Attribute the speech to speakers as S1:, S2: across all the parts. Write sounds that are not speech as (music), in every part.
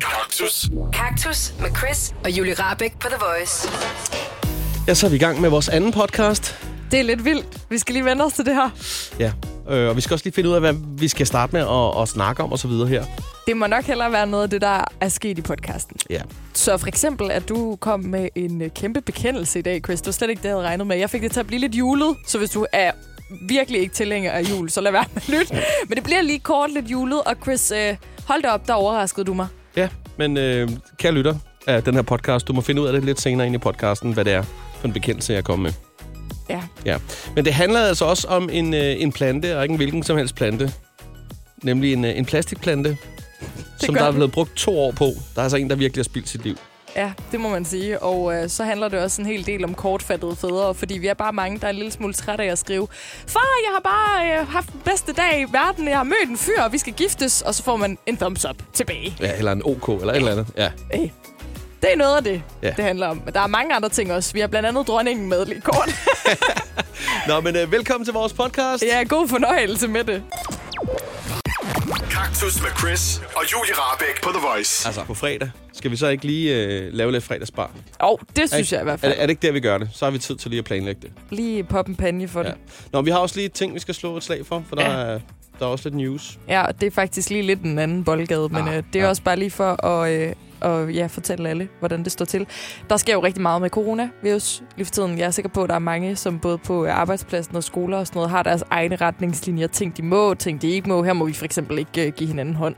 S1: Kaktus.
S2: Kaktus med Chris og Julie Rabeck på The Voice.
S3: Ja, så er vi i gang med vores anden podcast.
S4: Det er lidt vildt. Vi skal lige vende os til det her.
S3: Ja, øh, og vi skal også lige finde ud af, hvad vi skal starte med at, at snakke om og så videre her.
S4: Det må nok hellere være noget af det, der er sket i podcasten.
S3: Ja.
S4: Så for eksempel, at du kom med en øh, kæmpe bekendelse i dag, Chris. Det var slet ikke det, jeg havde regnet med. Jeg fik det til at blive lidt julet, så hvis du er virkelig ikke tilhænger af jul, så lad være med at lytte. Men det bliver lige kort lidt julet, og Chris, øh, hold da op, der overraskede du mig.
S3: Ja, men øh, kære lytter af den her podcast, du må finde ud af det lidt senere ind i podcasten, hvad det er for en bekendelse, jeg kommer med.
S4: Ja,
S3: Ja. Men det handler altså også om en, øh, en plante, og ikke en hvilken som helst plante. Nemlig en, øh, en
S4: (laughs)
S3: plastikplante, som
S4: gør
S3: der er
S4: den.
S3: blevet brugt to år på. Der er altså en, der virkelig har spildt sit liv.
S4: ja, det må man sige. Og øh, så handler det også en hel del om kortfattede fædre, fordi vi er bare mange, der er en lille smule trætte af at skrive, far, jeg har bare øh, haft den bedste dag i verden, jeg har mødt en fyr, og vi skal giftes, og så får man en thumbs up tilbage.
S3: Ja, eller en OK, eller et eller andet. Ja.
S4: Hey. Det er noget af det,
S3: Ja.
S4: ja. det handler om. Men Der er mange andre ting også. Vi har blandt andet dronningen med lige kort.
S3: Nå, men øh, velkommen til vores podcast.
S4: ja, god fornøjelse med det.
S1: Kaktus med Chris og Julie Rabeck på The Voice.
S3: Altså, på fredag skal vi så ikke lige øh, lave lidt fredagsbar?
S4: Og oh, det synes jeg i hvert fald.
S3: Er, det- er det ikke der, vi gør det? Så har vi tid til lige at planlægge det.
S4: Lige pop en panje for
S3: Ja.
S4: det.
S3: Nå, vi har også lige et ting, vi skal slå et slag for, for der, ja. er, der er også lidt news.
S4: Ja, og det er faktisk lige lidt en anden boldgade, men
S3: Ah,
S4: øh, det er
S3: ja.
S4: også bare lige for at øh, og, ja, fortælle alle, hvordan det står til. Der sker jo rigtig meget med coronavirus lige for tiden. Jeg er sikker på, at der er mange, som både på øh, arbejdspladsen og skoler og sådan noget, har deres egne retningslinjer. Ting, de må, ting, de ikke må. Her må vi for eksempel ikke øh, give hinanden hånd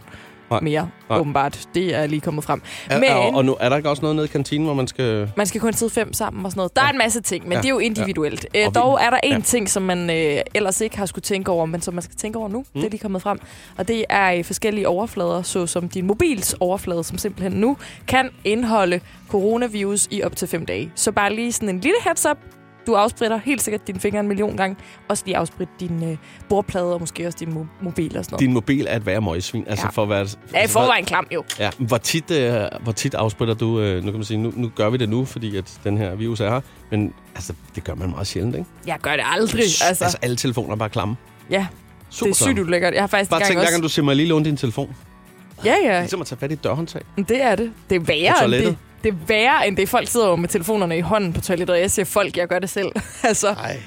S3: Nej.
S4: mere,
S3: Nej.
S4: åbenbart. Det er lige kommet frem.
S3: Er, er, og nu er der ikke også noget nede i kantinen, hvor man skal...
S4: Man skal kun sidde fem sammen og sådan noget. Der er en masse ting, men
S3: Ja.
S4: ja. det er jo individuelt.
S3: Ja.
S4: Ja.
S3: Og vi-
S4: dog er der en
S3: ja.
S4: ja. ting, som man øh, ellers ikke har skulle tænke over, men som man skal tænke over nu. Mm. Det er lige kommet frem. Og det er øh, forskellige overflader, såsom din mobils overflade, som simpelthen nu kan indeholde coronavirus i op til fem dage. Så bare lige sådan en lille heads up. Du afspritter helt sikkert dine fingre en million gange. Også lige afsprit din øh, bordplade og måske også din mo- mobil og sådan noget.
S3: Din mobil er et værre møgsvin. Altså,
S4: Ja.
S3: for at være...
S4: Ja, i forvejen klam jo.
S3: Ja, men hvor tit, øh, hvor tit afspiller du... Øh, nu kan man sige, nu, nu gør vi det nu, fordi at den her virus er her. Men altså, det gør man meget sjældent, ikke?
S4: Jeg gør det aldrig.
S3: altså,
S4: Altså, altså
S3: alle telefoner er bare klamme.
S4: ja,
S3: Super
S4: det er sygt
S3: klamme.
S4: ulækkert. Jeg har faktisk
S3: Bare
S4: engang
S3: tænk, hver gang
S4: også...
S3: du ser mig lige låne din telefon.
S4: Ja, ja.
S3: Ligesom at tage fat i et dørhåndtag.
S4: Men Det er det. Det er
S3: På
S4: værre end
S3: toilettet.
S4: det. Det er værre end det. Folk sidder jo med telefonerne i hånden på toilettet, og jeg siger folk, jeg gør det selv. (laughs) altså,
S3: Nej.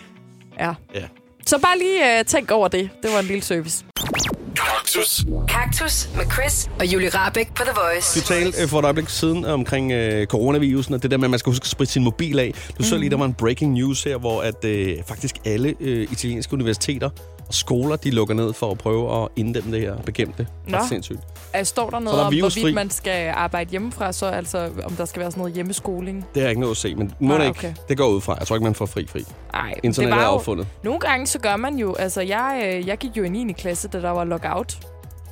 S4: ja.
S3: Ja.
S4: Så bare lige øh, tænk over det. Det var en lille service.
S1: Kaktus.
S2: Kaktus med Chris og Julie Rabeck på The Voice.
S3: Du talte øh, for et øjeblik siden omkring øh, coronavirusen, og det der med, at man skal huske at spritte sin mobil af. Du så lige, der
S4: Mm.
S3: var en breaking news her, hvor at øh, faktisk alle øh, italienske universiteter og skoler, de lukker ned for at prøve at inddæmme det her og bekæmpe det.
S4: Nå.
S3: Ret sindssygt.
S4: Øh, Står der
S3: Så
S4: noget
S3: der er
S4: om,
S3: virusfri.
S4: hvorvidt man skal arbejde hjemmefra, så altså om der skal være sådan noget hjemmeskoling?
S3: Det har jeg ikke noget at se, men må
S4: Ah,
S3: det
S4: okay.
S3: ikke. Det går ud fra. Jeg tror ikke, man får fri fri.
S4: Nej,
S3: Internet er affundet.
S4: Nogle gange så gør man jo, altså jeg, øh, jeg gik jo i 9. klasse, da der var lockout.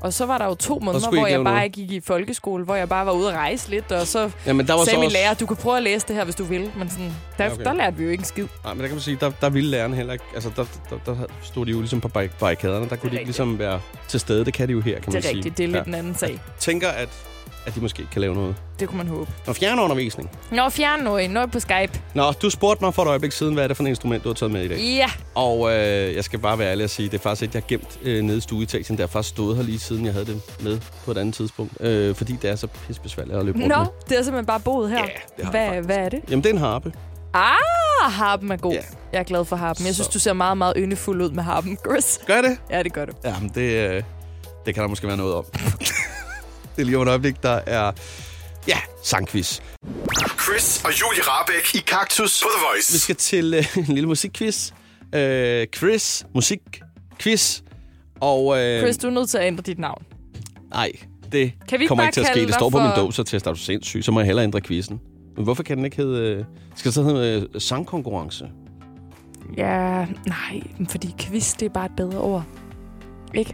S4: Og så var der jo to måneder,
S3: skulle I
S4: hvor
S3: ikke
S4: jeg
S3: lave
S4: bare
S3: noget.
S4: gik i folkeskole, hvor jeg bare var ude at rejse lidt, og så
S3: Jamen, der var
S4: sagde
S3: så
S4: min
S3: også...
S4: lærer, du kan prøve at læse det her, hvis du vil. Men sådan, der,
S3: Ja, okay.
S4: okay. der lærte vi jo ikke en skid.
S3: Nej, men der kan man sige, der, der ville lærerne heller ikke... Altså, der, der, der stod de jo ligesom på barri- barrikaderne. Der kunne de ikke
S4: rigtigt.
S3: ligesom være til stede. Det kan de jo her, kan man
S4: Det er
S3: sige.
S4: rigtigt, det er lidt ja. en anden sag.
S3: Tænker, at, at de måske ikke kan lave noget.
S4: Det kunne man håbe.
S3: Og fjernundervisning.
S4: Nå, fjern noget. Noget på Skype.
S3: Nå, du spurgte mig for et øjeblik siden, hvad er det for et instrument, du har taget med i dag?
S4: Ja.
S3: Og øh, jeg skal bare være ærlig og sige, det er faktisk et, jeg har gemt øh, nede i stueetagen. Det har faktisk stået her lige siden, jeg havde det med på et andet tidspunkt. Øh, fordi det er så pissebesværligt at løbe rundt
S4: Nå,
S3: med.
S4: det er simpelthen bare boet her.
S3: Ja, det har jeg
S4: hvad,
S3: faktisk.
S4: hvad er det?
S3: Jamen, det er en harpe.
S4: Ah, harpen er god.
S3: Ja.
S4: Jeg er glad for harpen. Jeg synes,
S3: Så.
S4: du ser meget, meget yndefuld ud med harpen, Chris.
S3: Gør jeg det?
S4: Ja, det gør du.
S3: Jamen, det, øh, det kan der måske være noget om. (laughs) det er lige om et øjeblik, der er... Ja, sangquiz.
S1: Chris og Julie Rabeck i Kaktus på The Voice.
S3: Vi skal til øh, en lille musikquiz. Øh, Chris, musikquiz. Og, øh,
S4: Chris, du er nødt til at ændre dit navn.
S3: Nej, det
S4: Kan vi ikke
S3: kommer
S4: bare
S3: ikke til at ske.
S4: kalde
S3: Det
S4: dig
S3: står på
S4: for-
S3: min dåsertest, er du sindssyg, så må jeg hellere ændre quizzen. Men hvorfor kan den ikke hedde... øh, Skal det så hedde øh, sangkonkurrence?
S4: Ja, nej, fordi quiz, det er bare et bedre ord. Ikke?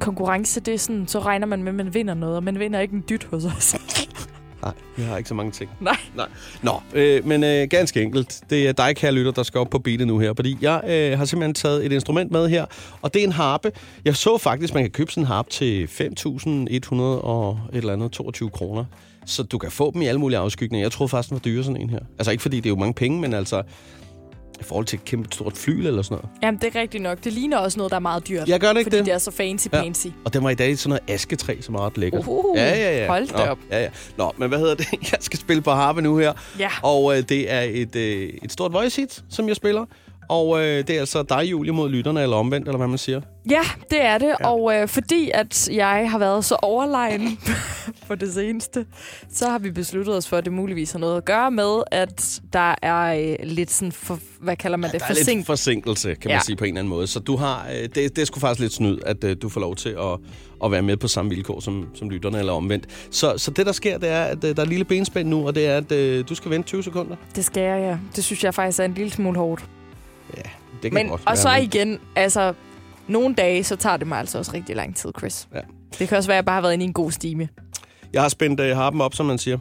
S4: Konkurrence, det er sådan, så regner man med, at man vinder noget, og man vinder ikke en dyt hos os. (laughs)
S3: Nej, vi har ikke så mange ting.
S4: nej.
S3: Nej. Nå, øh, men øh, ganske enkelt. Det er dig, kære lytter, der skal op på beatet nu her, fordi jeg øh, har simpelthen taget et instrument med her, og det er en harpe. Jeg så faktisk, man kan købe sådan en harpe til 5.100 og et eller andet 22 kroner. Så du kan få dem i alle mulige afskygninger. Jeg troede faktisk, den var dyre sådan en her. Altså ikke fordi det er jo mange penge, men altså... I forhold til et kæmpe stort fly eller sådan noget.
S4: Jamen, det er rigtigt nok. Det ligner også noget, der er meget dyrt.
S3: Jeg gør det ikke
S4: fordi
S3: det.
S4: det er så fancy-pansy. Ja.
S3: Og den var i dag i sådan noget asketræ, som er ret lækkert.
S4: Uhuh.
S3: ja, ja, ja.
S4: Hold da
S3: Nå,
S4: op.
S3: Ja, ja. Nå, men hvad hedder det? (laughs) Jeg skal spille på harpe nu her.
S4: Ja.
S3: Og øh, det er et, øh, et stort voice hit, som jeg spiller. Og øh, det er altså dig, Julie, mod lytterne, eller omvendt, eller hvad man siger.
S4: Ja, det er det. Ja. Og øh, fordi at jeg har været så overlegen (laughs) på det seneste, så har vi besluttet os for, at det muligvis har noget at gøre med, at der er øh, lidt sådan, for, hvad kalder man det,
S3: Der er lidt
S4: forsinket.
S3: forsinkelse, kan man
S4: Ja.
S3: sige på en eller anden måde. Så du har, øh, det, det er sgu faktisk lidt snyd, at øh, du får lov til at, at være med på samme vilkår som, som lytterne, eller omvendt. Så, så det, der sker, det er, at øh, der er et lille benspænd nu, og det er, at øh, du skal vente 20 sekunder.
S4: Det skal jeg, ja. Det synes jeg faktisk er en lille smule hårdt.
S3: Det kan
S4: Men,
S3: godt
S4: og
S3: være,
S4: så
S3: men-
S4: igen, altså, nogle dage, så tager det mig altså også rigtig lang tid, Chris.
S3: Ja.
S4: Det kan også være, at jeg bare har været inde i en god stime.
S3: Jeg har spændt øh, harpen op, som man siger,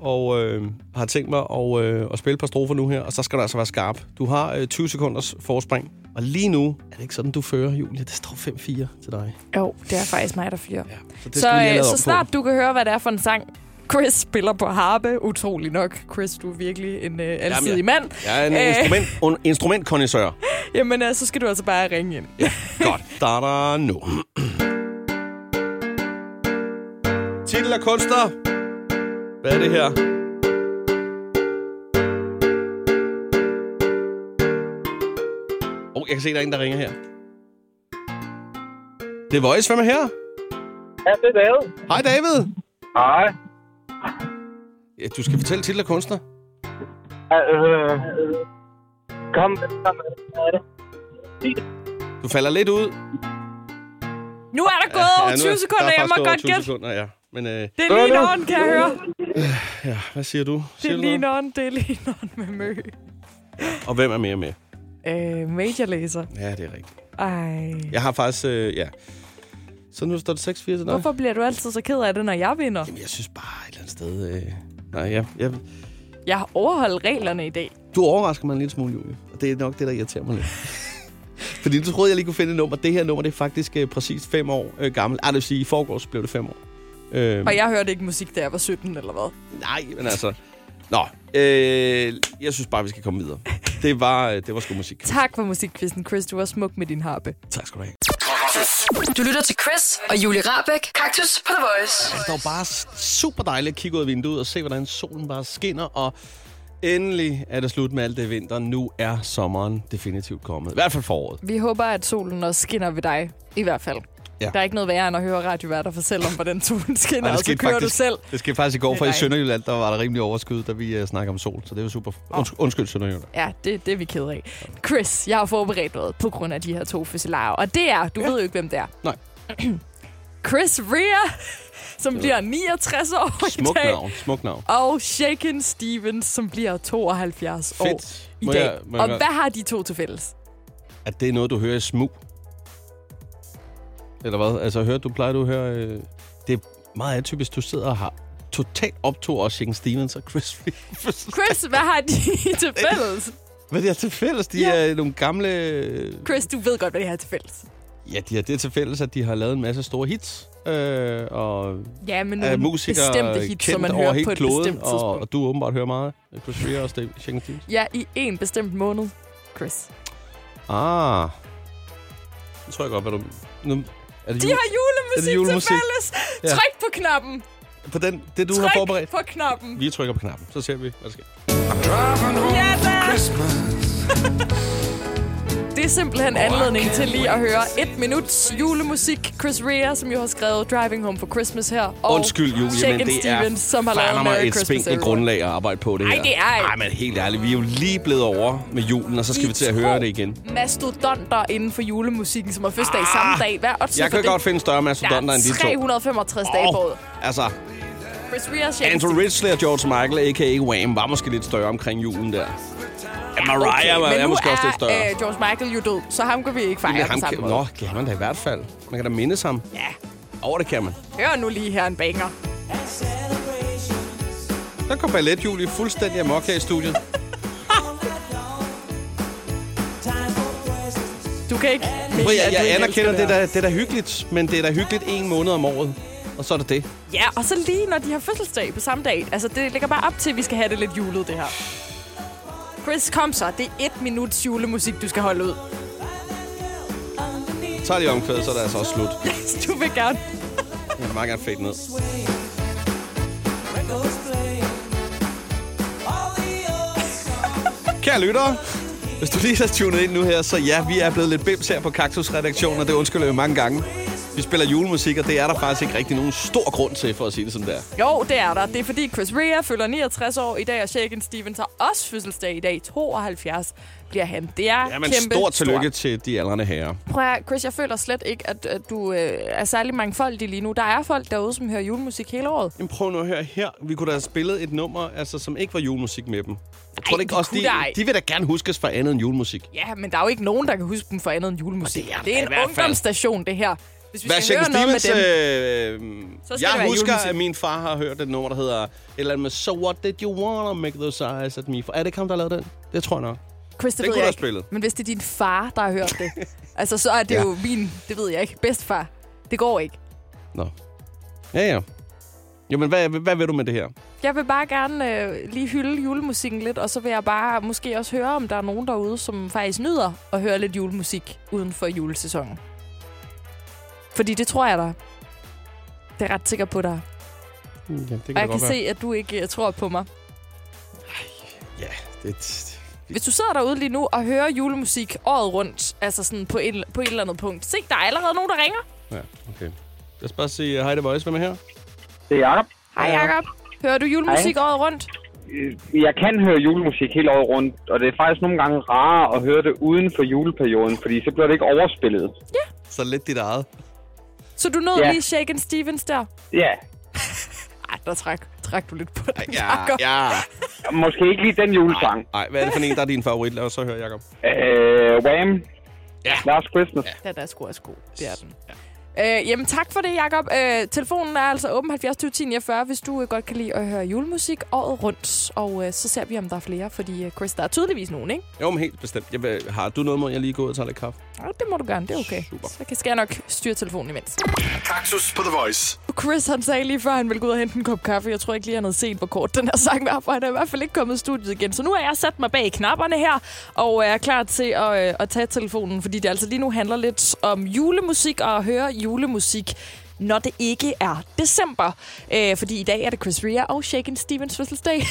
S3: og øh, har tænkt mig at, øh, at spille et par strofer nu her, og så skal du altså være skarp. Du har øh, 20 sekunders forspring, og lige nu er det ikke sådan, du fører, Julie. Det står 5-4 til dig.
S4: Jo, det er faktisk mig, der fyrer.
S3: Ja, så det
S4: Så,
S3: vi have
S4: øh,
S3: lavet
S4: så
S3: om på.
S4: snart du kan høre, hvad det er for en sang, Chris spiller på harpe. Utrolig nok. Chris, du er virkelig en øh, alsidig
S3: jeg-
S4: mand.
S3: Jeg er en
S4: Øh.
S3: instrument, un, instrumentkondensør.
S4: Jamen, øh, så skal du altså bare ringe ind.
S3: Godt, starter nu. Titel af kunstner. Hvad er det her? Oh, jeg kan se, der er en, der ringer her. Det er Voice. Hvem er her?
S5: Ja, det er David.
S3: Hej, David.
S5: Hej.
S3: Ja, du skal fortælle titel af kunstner.
S5: Øh, kom, kom, hvad er det?
S3: Du falder lidt ud.
S4: Nu er der gået over
S3: nu
S4: 20
S3: er-
S4: sekunder.
S3: der er
S4: Jeg må
S3: faktisk gået over
S4: godt
S3: 20
S4: gætte.
S3: sekunder, ja. Men øh,
S4: Det er lige nogen, kan jeg høre.
S3: ja, hvad siger du?
S4: Det
S3: Siger
S4: er
S3: du
S4: lige
S3: noget?
S4: nogen. Det er lige nogen med mø.
S3: Og hvem er mere med?
S4: Øh, majorlæser.
S3: Ja, det er rigtigt.
S4: Ej.
S3: Jeg har faktisk... Øh, ja. Så nu står det 6-4 til dig.
S4: Hvorfor bliver du altid så ked af det, når jeg vinder?
S3: Jamen, jeg synes bare et eller andet sted... Øh... Nej, jeg, jeg...
S4: Jeg har overholdt reglerne i dag.
S3: Du overrasker mig en lille smule, Julie. Og det er nok det, der irriterer
S4: (laughs)
S3: mig lidt. Fordi du troede, jeg lige kunne finde et nummer. Det her nummer, det er faktisk øh, præcis 5 år øh, gammelt. Ej, det vil sige, i forgårs blev det 5 år. Øh,
S4: Og jeg hørte ikke musik, da jeg var 17 eller hvad.
S3: Nej, men altså... Nå, øh, jeg synes bare, vi skal komme
S4: (laughs)
S3: videre. Det var, øh, det var sgu musik.
S4: Tak for musikkvisten, Chris. Du var smuk med din harpe.
S3: Tak skal du have.
S2: Du lytter til Chris og Julie Rabeck. Kaktus på The Voice.
S3: Det var bare super dejligt at kigge ud af vinduet og se, hvordan solen bare skinner, og endelig er det slut med alt det vinter. Nu er sommeren definitivt kommet. I hvert fald foråret.
S4: Vi håber, at solen også skinner ved dig. I hvert fald.
S3: Ja.
S4: Ja. Der er ikke noget værre end at høre radioværter fortælle om,
S3: (laughs)
S4: hvordan solen skinner,
S3: Nej,
S4: og
S3: det
S4: så
S3: skete,
S4: kører
S3: faktisk,
S4: du selv.
S3: det skete faktisk i går,
S4: Det er
S3: for i
S4: dejligt.
S3: Sønderjylland, der var der rimelig overskud, da vi uh, snakkede om sol. Så det var super. Unds- undskyld, Sønderjylland.
S4: Ja, det, det er vi ked af. Chris, jeg har forberedt noget på grund af de her to fødselarer. Og det er, du ja. ved jo ikke, hvem det er.
S3: Nej.
S4: Chris Rea, som bliver 69 år
S3: Smuk
S4: i dag.
S3: navn, smuk navn.
S4: Og Shaken Stevens, som bliver 72 år
S3: Fedt.
S4: i
S3: Må
S4: dag.
S3: jeg- må jeg
S4: og
S3: godt-
S4: hvad har de to til fælles?
S3: At det er noget, du hører i smug. Eller hvad? Altså, hørte du, plejer du at høre... Øh, det er meget atypisk, du sidder og har totalt optog også Shaken Stevens og Chris Rea.
S4: Chris, hvad har de (laughs)
S3: (laughs)
S4: til fælles?
S3: Hvad de har til fælles, de
S4: Ja.
S3: er nogle gamle...
S4: Chris, du ved godt, hvad de har til fælles.
S3: Ja, de har det til fælles, at de har lavet en masse store hits. Øh, og
S4: Ja, men
S3: er
S4: nogle
S3: musikere
S4: bestemte hits,
S3: kendt
S4: som man
S3: over
S4: hører
S3: hele
S4: på et
S3: kloden,
S4: bestemt
S3: og,
S4: tidspunkt.
S3: og du åbenbart hører meget. af Chris Rea og Steve- Shaken Stevens.
S4: Ja, i en bestemt måned, Chris.
S3: Ah. Nu tror jeg godt, hvad du... Nu, er det
S4: De
S3: jul-
S4: har
S3: Er det
S4: julemusik,
S3: julemusik?
S4: til fælles.
S3: Ja.
S4: Ja. Tryk på knappen.
S3: På den, det, du
S4: Tryk
S3: har forberedt.
S4: på knappen.
S3: Vi trykker på knappen, så ser vi, hvad der sker.
S4: Ja, da. Det er simpelthen anledning til lige at høre et minuts julemusik. Chris Rea, som jo har skrevet Driving Home for Christmas her. Og
S3: Undskyld, Julie,
S4: Shaken
S3: men det er
S4: Stevens, som har lavet
S3: fandme
S4: Merry
S3: et
S4: Christmas
S3: spinkelt
S4: Everyone.
S3: grundlag at arbejde på det
S4: Ej,
S3: her.
S4: det er ikke.
S3: Nej, men helt ærligt, vi er jo lige blevet over med julen, og så skal
S4: I
S3: vi til at
S4: to
S3: høre det igen.
S4: mastodonter inden for julemusikken, som har fødselsdag ah, samme dag. Hvad er
S3: Jeg kan godt finde større mastodonter end de to.
S4: 365 dage på året.
S3: Åh, altså,
S4: Chris Rea, Shaken
S3: Andrew Ridgely og George Michael, a.k.a. Wham, var måske lidt større omkring julen der. Ja, Mariah var,
S4: men
S3: er
S4: nu
S3: måske
S4: er
S3: også lidt større.
S4: Øh, George Michael jo død, så ham kan vi ikke fejre
S3: Jamen,
S4: på
S3: ham
S4: samme
S3: kan,
S4: måde.
S3: nå, det kan man da i hvert fald. Man kan da mindes ham.
S4: Ja,
S3: Over det kan man.
S4: hør nu lige her en banger.
S3: Der kom ballet, Julie, fuldstændig amok her i studiet.
S4: Du kan ikke...
S3: Prøv,
S4: mene,
S3: jeg,
S4: at du
S3: jeg
S4: ikke
S3: anerkender, det
S4: elsker
S3: er da, det er da hyggeligt, men det er da hyggeligt en måned om året. Og så er det det.
S4: her. Ja, og så lige når de har fødselsdag på samme dag. Altså, det ligger bare op til, at vi skal have det lidt julet, det her. Chris, kom så. Det er et minuts julemusik, du skal holde ud. (laughs)
S3: Tag lige omkvædet, så er det altså også slut.
S4: du vil gerne.
S3: Jeg vil meget gerne fade (laughs) ned. Kære lyttere, hvis du lige har tunet ind nu her, så ja, vi er blevet lidt bims her på Kaktus-redaktionen, og det undskylder jeg jo mange gange. Vi spiller julemusik, og det er der faktisk ikke rigtig nogen stor grund til, for at sige det som det er.
S4: Jo, det er der. Det er fordi Chris Rea fylder 69 år i dag, og Shaken Stevens har også fødselsdag i dag. 72 bliver han. Det er
S3: Ja, men
S4: kæmpe
S3: stort tillykke til de aldrende herrer.
S4: Stort. Prøv at, høre, Chris, jeg føler slet ikke, at, at du øh, er særlig mangfoldig lige nu. Der er folk derude, som hører julemusik hele året.
S3: Jamen prøv nu at høre her. Vi kunne da have spillet et nummer, altså, som ikke var julemusik med dem. Jeg tror
S4: Ej,
S3: da ikke
S4: vi
S3: også,
S4: kunne
S3: de,
S4: da ej.
S3: de vil da gerne huskes for andet end julemusik.
S4: Ja, men der er jo ikke nogen, der kan huske dem for andet end julemusik.
S3: Og det er der
S4: det
S3: i
S4: er en
S3: hvert fald.
S4: ungdomsstation, det her. Hvis vi
S3: Hvad
S4: skal
S3: Shaken
S4: høre noget med
S3: Stevens,
S4: dem.
S3: øh,
S4: Så skal det
S3: jeg
S4: være
S3: husker,
S4: julemusik.
S3: at min far har hørt et nummer, der hedder et eller andet med So what did you wanna make those eyes at me for? Er det ikke ham, der lavede den? øh, Det tror jeg nok.
S4: Chris, det,
S3: Den
S4: ved
S3: kunne du
S4: jeg ikke.
S3: have spillet.
S4: Men hvis det er din far, der har hørt det,
S3: (laughs)
S4: altså så er det
S3: Ja.
S4: ja. jo min, det ved jeg ikke, bedstfar. Det går ikke.
S3: Nå. Ja, ja. Jamen, hvad, hvad vil du med det her?
S4: Jeg vil bare gerne øh, lige hylde julemusikken lidt, og så vil jeg bare måske også høre, om der er nogen derude, som faktisk nyder at høre lidt julemusik uden for julesæsonen. Fordi det tror jeg der. er. Det er jeg ret sikker på dig.
S3: Hmm, Ja, det kan
S4: Og jeg kan se, at du ikke øh, tror på mig.
S3: Ja, det...
S4: Hvis du sidder derude lige nu og hører julemusik året rundt, altså sådan på et, på et eller andet punkt, se, der er allerede nogen, der ringer.
S3: Ja, okay. Lad os bare sige uh, hej, det Voice. Hvem er her?
S5: Det er Jacob.
S4: Hej, Jacob. Hører du julemusik året rundt?
S5: Jeg kan høre julemusik hele året rundt, og det er faktisk nogle gange rarere at høre det uden for juleperioden, fordi så bliver det ikke overspillet.
S3: Så lidt dit eget.
S4: Så du nåede
S5: Ja.
S4: lige Shaken Stevens der?
S5: Ja,
S4: Ej, der træk, træk du lidt på dig,
S3: Ja,
S4: Jacob.
S3: ja.
S5: måske ikke lige den julesang.
S3: Ah, Ej, hvad er det for en, der er din favorit? Lad os så høre, Jacob.
S5: Øh, Wham!
S3: Ja.
S5: Last Christmas.
S4: Den er sgu også god. Det er den. Ja. Øh, jamen tak for det, Jacob. Øh, telefonen er altså åben 70 20 10 49, hvis du øh, godt kan lide at høre julemusik året rundt. Og øh, så ser vi, om der er flere, fordi øh, Chris, der er tydeligvis nogen, ikke?
S3: Jo, men helt bestemt. Jeg, vil- har du noget mod, jeg lige går ud og tager lidt kaffe?
S4: Ja, det må du gerne, det er okay.
S3: Super.
S4: Så kan, skal jeg nok styre telefonen imens.
S1: Kaktus på The Voice.
S4: Chris, han sagde lige før, han ville gå ud og hente en kop kaffe. Jeg tror ikke lige, han havde set, hvor kort den her sang var, for han er i hvert fald ikke kommet i studiet igen. Så nu er jeg sat mig bag knapperne her, og er klar til at, øh, at tage telefonen, fordi det altså lige nu handler lidt om julemusik og at høre julemusik når det ikke er december. Øh, fordi i dag er det Chris Rea og Shaken Stevens fødselsdag.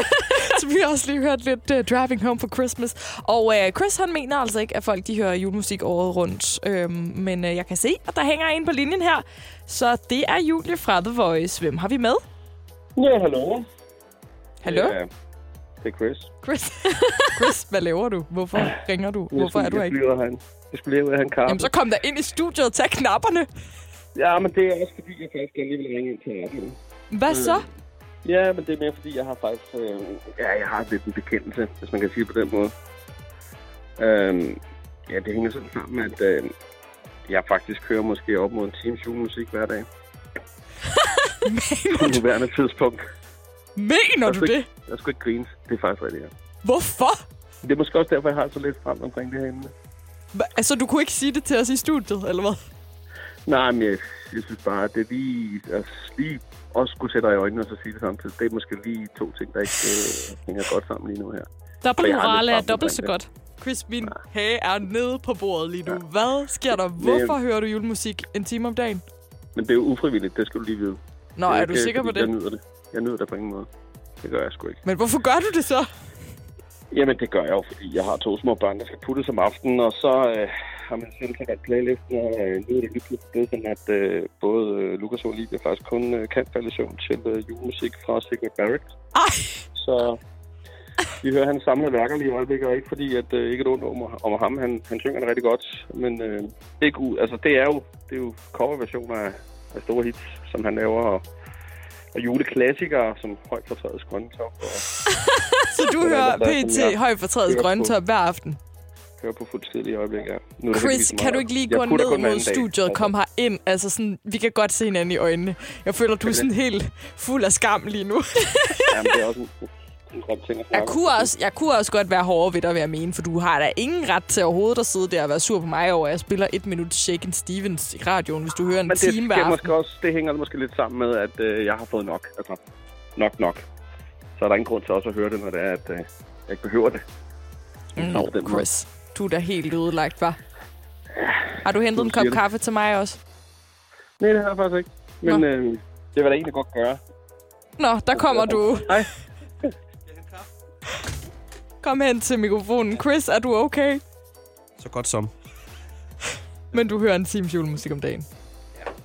S4: (laughs) Så vi har også lige hørt lidt uh, Driving Home for Christmas. Og uh, Chris, han mener altså ikke, at folk de hører julemusik året rundt. Øhm, men uh, jeg kan se, at der hænger en på linjen her. Så det er Julie fra The Voice. Hvem har vi med?
S5: Ja, hallo.
S4: Hallo?
S5: Ja, det er Chris.
S4: Chris. (laughs) Chris, hvad laver du? Hvorfor ringer du? Hvorfor er du her
S5: jeg
S4: ikke?
S5: flyder han. Jeg skulle lige ud af han kaffe.
S4: Jamen, så kom der ind i studiet og tag knapperne.
S5: Ja, men det er også fordi, jeg faktisk gerne lige vil ringe ind til jer. Mm.
S4: Hvad så?
S5: Ja, men det er mere fordi, jeg har faktisk... Øh, ja, jeg har lidt en bekendelse, hvis man kan sige det på den måde. Øh, ja, det hænger sådan sammen, at øh, jeg faktisk kører måske op mod en times julemusik hver
S4: (laughs)
S5: dag. på nuværende tidspunkt.
S4: Mener du det?
S5: Jeg skulle ikke grine. Det er faktisk rigtigt, ja.
S4: Hvorfor?
S5: Det er måske også derfor, jeg har så lidt frem omkring det her emne.
S4: Hva? Altså, du kunne ikke sige det til os i studiet, eller hvad?
S5: Nej, men jeg, jeg synes bare, at det er lige at lige også kunne sætte dig i øjnene og så sige det samtidig. Det er måske lige to ting, der ikke øh, hænger godt sammen lige nu her.
S4: Dobbeltmorale
S5: lidt
S4: er
S5: frem
S4: dobbelt så
S5: omkring
S4: godt. Chris, min hage er nede på bordet lige nu. Hvad sker der?
S5: Men-
S4: Hvorfor hører du julemusik en time om dagen?
S5: Men det er jo ufrivilligt, det skal du lige vide.
S4: Nå,
S5: Det
S4: er
S5: ikke,
S4: du sikker på
S5: fordi
S4: det?
S5: Jeg nyder det. Jeg nyder det på ingen måde. Det gør jeg sgu ikke.
S4: Men hvorfor gør du det så?
S5: Jamen, det gør jeg jo, fordi jeg har to små børn, der skal puttes om aftenen, og så øh, har man selv kan playlisten, og øh, nu er det lige pludselig blevet sådan, at øh, både øh, Lukas og Olivia faktisk kun øh, kan falde i søvn til øh, julemusik fra Sigurd Barrett.
S4: Ej,
S5: Så vi hører hans samlede værker lige i øjeblikket, og ikke fordi, at øh, ikke et ondt om, om ham. Han, han synger det rigtig godt, men øh, ikke ud. Altså, det er jo, det er jo coverversioner af, af store hits, som han laver, og, og juleklassikere, som højt fortrædets grøntop, og
S4: så du
S5: Det er
S4: hører
S5: der, som
S4: PT
S5: (laughs) jeg
S4: høj fortrædet
S5: hører på.
S4: grøntop hver aften.
S5: kører på fuld tid lige i øjeblikket. Nu er det heldigvis
S4: Chris,
S5: meget.
S4: kan du ikke lige
S5: Jeg
S4: gå
S5: putter
S4: ned
S5: kun hver
S4: mod
S5: anden dag.
S4: studiet og
S5: Altså,
S4: komme herind? Altså sådan, vi kan godt se hinanden i øjnene. Jeg føler, du er sådan helt fuld af skam lige nu.
S5: Jamen, det er også en, en grim ting at snakke
S4: Jeg
S5: om.
S4: kunne, også, jeg kunne også godt være hårdere ved dig, vil jeg mene, for du har da ingen ret til overhovedet at sidde der og være sur på mig over, at jeg spiller et minut Shaken Stevens i radioen, hvis du hører en
S5: Men det,
S4: time hver
S5: sker
S4: aften.
S5: måske også, det hænger måske lidt sammen med, at øh, jeg har fået nok. Altså, nok nok. Så er der ingen grund til også at høre det, når det er, at øh, jeg ikke behøver det.
S3: Mm.
S4: Nå,
S5: på den måde.
S4: Chris. Du er da helt ødelagt, var. Har du hentet en kop
S5: siger du.
S4: kaffe til mig også?
S5: Nej, det har jeg faktisk ikke. Men
S4: Nå.
S5: øh, det vil jeg da egentlig godt gøre.
S4: Nå, der kommer du.
S5: Hej.
S4: Kom hen til mikrofonen. Chris, er du okay?
S3: Så godt som.
S4: Men du hører en times julemusik om dagen.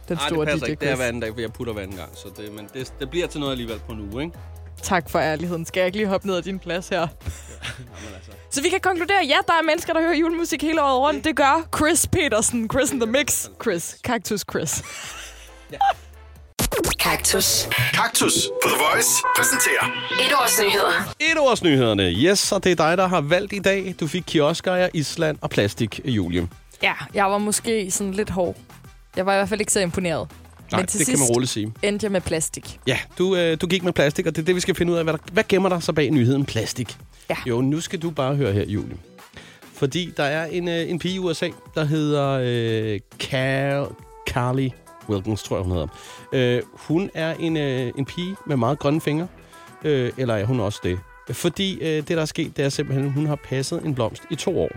S4: Den
S3: Nej,
S4: store
S3: det passer
S4: DJ
S3: ikke. Det er
S4: Chris.
S3: hver anden dag, for jeg putter hver anden gang. Så det, men det, det bliver til noget alligevel på en uge, ikke?
S4: Tak for ærligheden. Skal jeg ikke lige hoppe ned af din plads (laughs) her?
S3: altså.
S4: Så vi kan konkludere, ja, der er mennesker, der hører julemusik hele året rundt. Det gør Chris Petersen. Chris in the Mix. Chris. Cactus Chris.
S2: Kaktus.
S1: Kaktus på The Voice præsenterer
S2: Et års nyheder.
S3: Et års nyhederne. Yes, og det er dig, der har valgt i dag. Du fik kioskejer, Island og plastik, Julie.
S4: Ja, jeg var måske sådan lidt hård. Jeg var i hvert fald ikke så imponeret.
S3: Nej,
S4: Men til
S3: det kan
S4: sidst
S3: man roligt sige.
S4: endte jeg med plastik.
S3: Ja, du, øh, du gik med plastik, og det er det, vi skal finde ud af. Hvad, der, hvad gemmer der sig bag nyheden plastik?
S4: Ja.
S3: Jo, nu skal du bare høre her, Julie. Fordi der er en, øh, en pige i USA, der hedder øh, Car- Carly Wilkins, tror jeg, hun hedder. Øh, hun er en, øh, en pige med meget grønne fingre. Øh, eller er hun også det? Fordi øh, det, der er sket, det er simpelthen, at hun har passet en blomst i to år.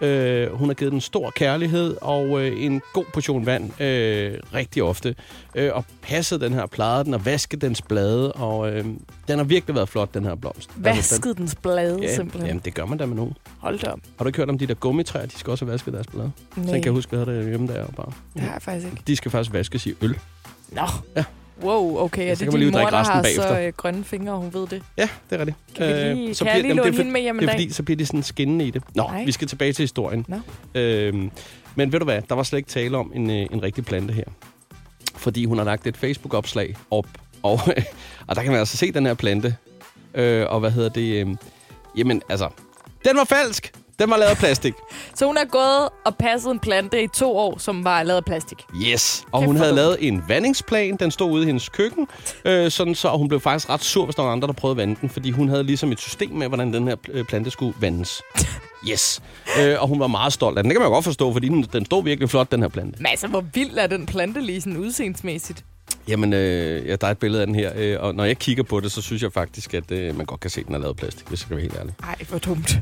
S3: Øh, hun har givet den stor kærlighed og øh, en god portion vand øh, rigtig ofte. Øh, og passet den her, plejet den og vasket dens blade. Og øh, den har virkelig været flot, den her blomst.
S4: Vaskede dens blade,
S3: den, ja,
S4: simpelthen.
S3: Jamen, det gør man da med nogen.
S4: Hold da op.
S3: Har du ikke hørt om de der gummitræer? De skal også have vasket deres blade.
S4: Nej,
S3: Så jeg kan huske, hvad der hjemme der bare.
S4: det har jeg faktisk ikke.
S3: De skal faktisk vaskes i øl.
S4: Nå.
S3: Ja.
S4: Wow, okay. Er
S3: så
S4: det
S3: kan man
S4: din
S3: lige
S4: mor,
S3: drikke
S4: der
S3: resten
S4: har så
S3: bagefter.
S4: øh, grønne fingre, og hun ved det?
S3: Ja, det er rigtigt. Øh,
S4: Kan, vi lige, kan jeg
S3: bliver-
S4: lige
S3: jamen, det er
S4: låne
S3: for-
S4: hende med hjem en
S3: Det er
S4: dag?
S3: fordi, så bliver de sådan skinnende i det. Nå,
S4: Nej.
S3: Nej. vi skal tilbage til historien.
S4: Nå.
S3: Øhm, men ved du hvad, der var slet ikke tale om en, øh, en rigtig plante her. Fordi hun har lagt et Facebook-opslag op, og, (laughs) og der kan man altså se den her plante. Øh, og hvad hedder det? Øh, jamen, altså, den var falsk! Den var lavet af plastik.
S4: Så hun har gået og passet en plante i to år, som var lavet af plastik.
S3: Yes. Og
S4: Kæft,
S3: hun
S4: hvor
S3: havde
S4: dumt.
S3: lavet en vandingsplan. Den stod ude i hendes køkken. Øh, sådan så, og hun blev faktisk ret sur, hvis der var andre, der prøvede at vande den. Fordi hun havde ligesom et system med, hvordan den her øh, plante skulle
S4: (laughs)
S3: vandes. Yes. Øh, og hun var meget stolt af den. Det kan man jo godt forstå, fordi den, den stod virkelig flot, den her plante.
S4: Men altså, hvor vild er den plante lige sådan udseendsmæssigt?
S3: Jamen, øh, ja, der er et billede af den her. Øh, og når jeg kigger på det, så synes jeg faktisk, at øh, man godt kan se, at den er lavet af plastik, hvis jeg skal være helt ærlig.
S4: Ej, hvor dumt.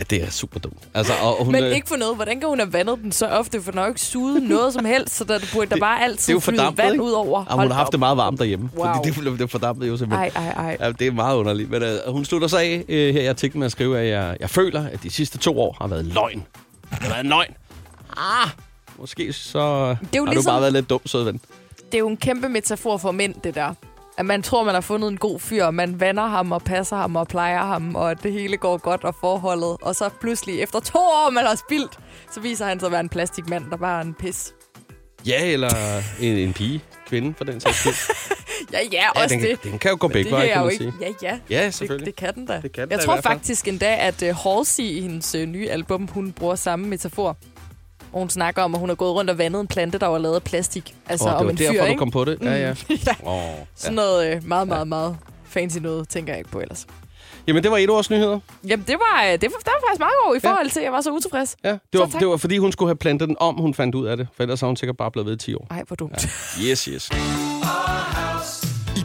S3: Ja, det er super dumt. Altså, og hun,
S4: Men
S3: øh,
S4: ikke for noget. Hvordan kan hun have vandet den så ofte? For den har jo ikke suget noget som helst, så der burde der bare
S3: det er
S4: altid
S3: jo
S4: flyde
S3: fordampet,
S4: vand
S3: ikke?
S4: ud over.
S3: Og hun har haft det
S4: op.
S3: meget varmt derhjemme.
S4: Wow.
S3: Wow. Fordi det, blev- det fordampede jo simpelthen.
S4: Ej, ej, ej.
S3: Ja, det er meget underligt. Men uh, hun slutter sig af uh, her. Jeg tænkte med at skrive, at jeg, jeg føler, at de sidste to år har været løgn. Det har været en løgn. Ah, måske så det
S4: jo
S3: har
S4: ligesom-
S3: du bare været lidt dum, søde ven.
S4: Det er jo en kæmpe metafor for mænd, det der. At man tror, man har fundet en god fyr, og man vander ham og passer ham og plejer ham, og at det hele går godt og forholdet. Og så pludselig, efter to år, man har spildt, så viser han sig at være en plastikmand, der bare er en pis.
S3: Ja, eller en, en pige, kvinde for den sags
S4: (laughs)
S3: skyld.
S4: Ja, ja,
S3: ja,
S4: også
S3: den,
S4: det.
S3: den kan jo gå
S4: Men
S3: begge veje,
S4: jeg
S3: kan
S4: jo
S3: man sige.
S4: Ja, ja.
S3: Ja, selvfølgelig.
S4: Det, det kan den da.
S3: Det kan den
S4: jeg
S3: da i
S4: tror
S3: hvert fald.
S4: faktisk endda, at uh, Halsey i hendes uh, nye album, hun bruger samme metafor. Og hun snakker om, at hun har gået rundt og vandet en plante, der var lavet af plastik. Altså
S3: Åh, det
S4: om
S3: var
S4: en
S3: derfor,
S4: fyr,
S3: du
S4: ikke? Mm.
S3: kom på det. Ja, ja.
S4: (laughs) ja.
S3: Oh, ja.
S4: Sådan noget øh, meget, meget, meget fancy noget, tænker jeg ikke på ellers.
S3: Jamen, det var et års nyheder.
S4: Jamen, det var, øh, det var, der var faktisk meget god i forhold til, at jeg var så utilfreds.
S3: Ja,
S4: Så
S3: det, var,
S4: tak.
S3: det var, fordi hun skulle have plantet den om, hun fandt ud af det. For ellers har hun sikkert bare blevet ved i 10 år.
S4: Ej, hvor dumt. Ja.
S3: Yes, yes.
S1: I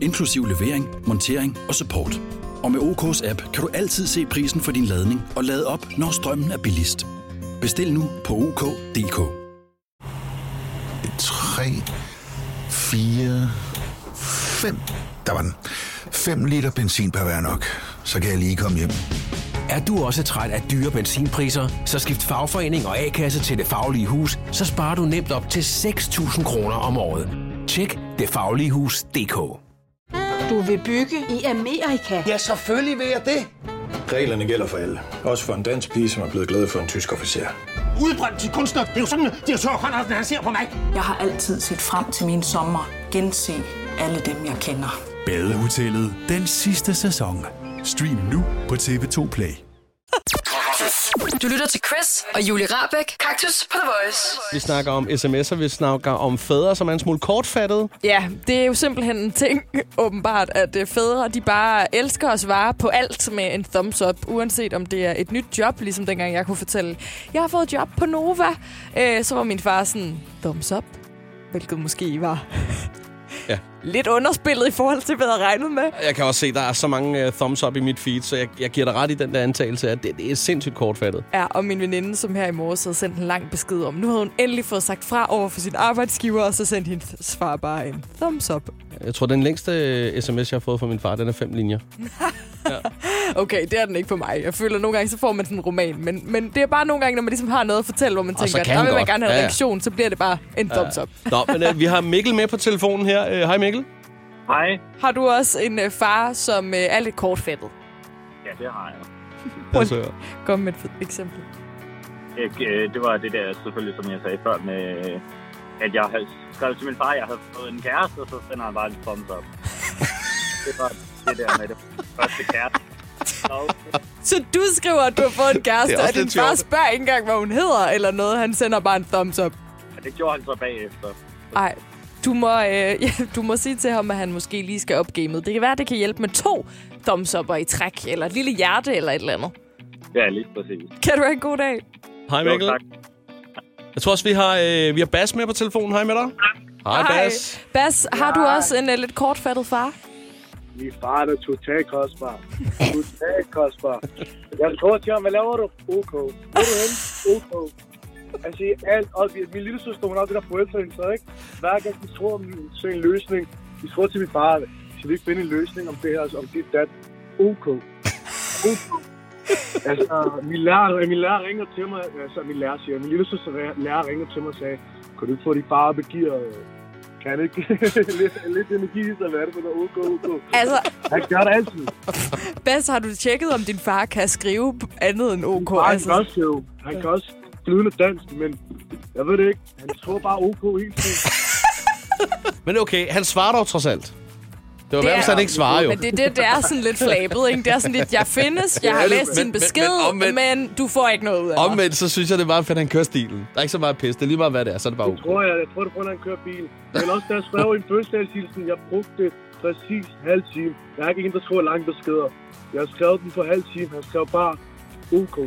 S6: inklusiv levering, montering og support. Og med OK's app kan du altid se prisen for din ladning og lade op, når strømmen er billigst. Bestil nu på OK.dk.
S7: 3, 4, 5. Der var den. 5 liter benzin per hver nok. Så kan jeg lige komme hjem.
S8: Er du også træt af dyre benzinpriser? Så skift fagforening og A-kasse til Det Faglige Hus, så sparer du nemt op til 6.000 kroner om året. Tjek detfagligehus.dk
S9: Du vil bygge i Amerika? Ja.
S10: Reglerne gælder for alle. Også for en dansk pige, som er blevet glad for en tysk officer.
S11: udbrændt til kunstner. Det er jo sådan, at de har tørt håndholdt, han ser på mig.
S9: Jeg har altid set frem til min sommer. Gense alle dem, jeg kender.
S10: Badehotellet. Den sidste sæson. Stream nu på TV2 Play.
S1: Kaktus.
S2: Du lytter til Chris og Julie Rabeck. Kaktus på The Voice.
S3: Vi snakker om sms'er, vi snakker om fædre, som er en smule kortfattede.
S4: Ja, det er jo simpelthen en ting, (laughs) åbenbart, at øh, fædre de bare elsker at svare på alt med en thumbs up, uanset om det er et nyt job, ligesom dengang jeg kunne fortælle, jeg har fået job på Nova. Øh, så var min far sådan, thumbs up, hvilket måske var
S3: Ja.
S4: lidt underspillet i forhold til, hvad jeg havde regnet med.
S3: Jeg kan også se, der er så mange uh, thumbs up i mit feed, så jeg, jeg giver dig ret i den der antagelse, at det, det er sindssygt kortfattet.
S4: Ja, og min veninde, som her i morges havde sendt en lang besked om, nu havde hun endelig fået sagt fra over for sin arbejdsgiver, og så sendte hendes svar bare en thumbs up.
S3: Jeg tror, den længste øh, sms, jeg har fået fra min far, den er fem linjer.
S4: Okay, det er den ikke for mig. Jeg føler, at nogle gange så får man sådan en roman, men, men det er bare nogle gange, når man ligesom har noget at fortælle, hvor man
S3: Og så
S4: tænker,
S3: kan
S4: at
S3: den
S4: vil man
S3: godt."
S4: gerne have en
S3: Ja, ja.
S4: reaktion, så bliver det bare en thumbs up.
S3: Ja. Nå, men uh, vi har Mikkel med på telefonen her. Øh, Hej Mikkel.
S12: Hej.
S4: Har du også en øh, far, som øh, er lidt kortfattet?
S12: Ja, det har jeg.
S3: Altså,
S4: Kom med et eksempel.
S12: Ikke, øh, det var det der selvfølgelig, som jeg sagde før, med, øh, at jeg havde skrevet til min far, at jeg havde fået en kæreste, og så sender han bare en thumbs up. det var det der med det første kæreste.
S4: Så du skriver, at du har
S3: (laughs)
S4: fået en kæreste,
S12: Det er også
S4: og din
S12: lidt
S4: far
S12: sjovt.
S4: spørger ikke engang, hvad hun hedder eller noget. Han sender bare en thumbs up.
S12: Ja, det gjorde han så bagefter.
S4: Ej, du må, øh, (laughs) ja, du må sige til ham, at han måske lige skal op gamet. Det kan være, det kan hjælpe med to thumbs up'er i træk, eller et lille hjerte eller et eller andet.
S12: Ja, lige præcis.
S4: Kan du have en god dag?
S3: Hej Mikkel.
S12: Jo, tak.
S3: Jeg tror også, vi har, øh, vi har Bas med på telefonen. Hej med dig. Hej, Bas.
S4: Bas, har du også en uh, lidt kortfattet far?
S13: Min far er totalt kostbar. Totalt kostbar. Jeg tror til ham, hvad laver du? OK. Hvor er du henne? OK. Altså, i alt op. i- Min lille søster, hun har det der forældrene, så ikke? Hver gang de tror om til en løsning, de tror til min far, skal vi ikke finde en løsning om det her, altså, om dit dat? OK. OK. Altså, min lærer, min lærer ringer til mig, altså min lærer siger, min lille søster lærer ringer til mig og sagde, kan du ikke få dit far op i gear? øh? Kan han ikke (laughs) lidt, lidt energi, så hvad er det for noget? OK, OK.
S4: Altså,
S13: Han gør det altid.
S4: Bas, har du tjekket, om din far kan skrive andet end OK? Altså,
S13: Bare han kan også skrive. Han kan også flydende dansk, men jeg ved det ikke. Han tror bare OK hele tiden.
S3: Men okay, han svarer dog trods alt. Det var
S4: Det
S3: værd,
S4: er-
S3: hvis han ikke svarer jo.
S4: Men det, det, det er sådan lidt flabet, ikke? Det er sådan lidt, jeg findes, jeg har
S3: Det er det,
S4: læst
S3: men-
S4: din
S3: men-
S4: besked,
S3: men
S4: men, men,
S3: omvendt-
S4: men du får ikke noget ud af mig.
S3: Omvendt, så synes jeg, det er meget fedt, at han kører stilen. Der er ikke så meget pis. Det er lige meget, hvad det er, så er det bare
S13: Jeg tror, jeg, jeg tror, det er på, grund af, at han kører bil. Men også, da jeg skrev en fødselsdagshilsen, jeg brugte præcis halv time. Jeg er ikke en, der skriver lange beskeder. Jeg skrev den på halv time. Han skrev bare OK.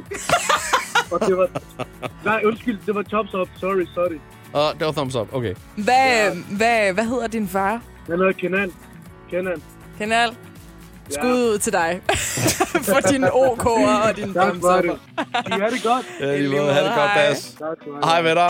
S13: Og det var... Nej, undskyld, det var tops up. Sorry, sorry.
S3: okay. Og det var thumbs up. Okay.
S4: Hvad, hvad, hvad hedder din far?
S13: Han hedder Kenan. Kenan.
S4: Kenal? Skud ud til dig. (laughs) For din OK'er og din thumbs
S13: var
S4: up.
S13: det. De er det godt.
S3: Ja, lige måde. Ha' det godt, Bas. Hej med dig.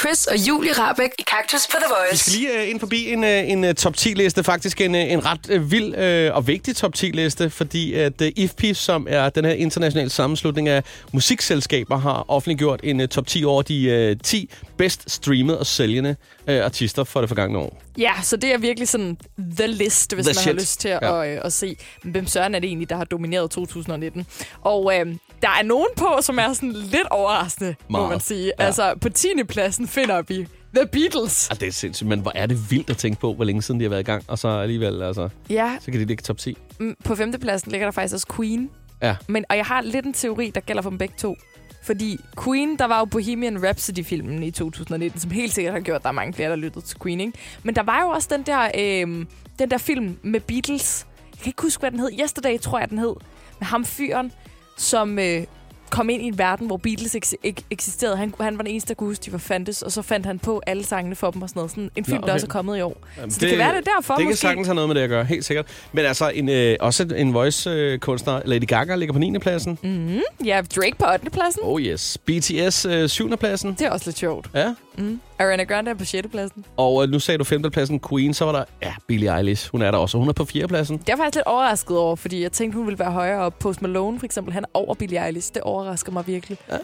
S2: Chris og Julie Rabeck i Kaktus på The
S3: Vi
S2: Voice.
S3: skal (laughs) lige øh, ind forbi en, øh, en øh, top 10-liste. Faktisk en, øh, en ret øh, vild øh, og vigtig top 10-liste, fordi at øh, IFPI, som er den her internationale sammenslutning af musikselskaber, har offentliggjort en øh, top 10 over de øh, 10 bedst streamede og sælgende øh, artister for det forgangne år.
S4: Ja, så det er virkelig sådan the list, hvis
S3: The
S4: man har
S3: shit.
S4: lyst til
S3: Ja.
S4: at, øh, at se, hvem søren er det egentlig, der har domineret 2019. Og øh, der er nogen på, som er sådan lidt overraskende, må
S3: Meget.
S4: man sige.
S3: Ja.
S4: Ja. Altså, på 10. pladsen finder vi The Beatles.
S3: Ah, det er sindssygt, men hvor er det vildt at tænke på, hvor længe siden de har været i gang, og så alligevel, altså,
S4: Ja.
S3: så kan de ligge i top 10.
S4: Mm, På 5. pladsen ligger der faktisk også Queen.
S3: Ja.
S4: Men, og jeg har lidt en teori, der gælder for dem begge to. Fordi Queen, der var jo Bohemian Rhapsody-filmen i 2019, som helt sikkert har gjort, at der er mange flere, der lyttede til Queen, ikke? Men der var jo også den der, øh, den der film med Beatles. Jeg kan ikke huske, hvad den hed. Yesterday, tror jeg, den hed. Med ham fyren, som øh, kom ind i en verden, hvor Beatles eks- ek- eksisterede. Han, han var den eneste, der kunne huske, de var fandtes. Og så fandt han på alle sangene for dem og sådan noget. Sådan en film,
S3: Nå,
S4: der
S3: okay.
S4: også er kommet i år. Jamen, så det, det kan være, det er derfor,
S3: Det
S4: måske.
S3: kan sagtens have noget med det at gøre, helt sikkert. Men altså, en, øh, også en voice-kunstner, Lady Gaga, ligger på 9. pladsen.
S4: Mm, ja, Drake på 8. pladsen.
S3: Oh yes. BTS øh, 7. pladsen.
S4: Det er også lidt sjovt.
S3: Ja.
S4: Mm. Ariana Grande er på 6. pladsen.
S3: Og øh, nu sagde du 5. pladsen Queen, så var der ja, Billie Eilish. Hun er der også. Hun er på 4. pladsen.
S4: Det er jeg faktisk lidt overrasket over, fordi jeg tænkte, hun ville være højere op. Post Malone, for eksempel, han er over Billie Eilish. Det overrasker mig virkelig.
S3: Ja.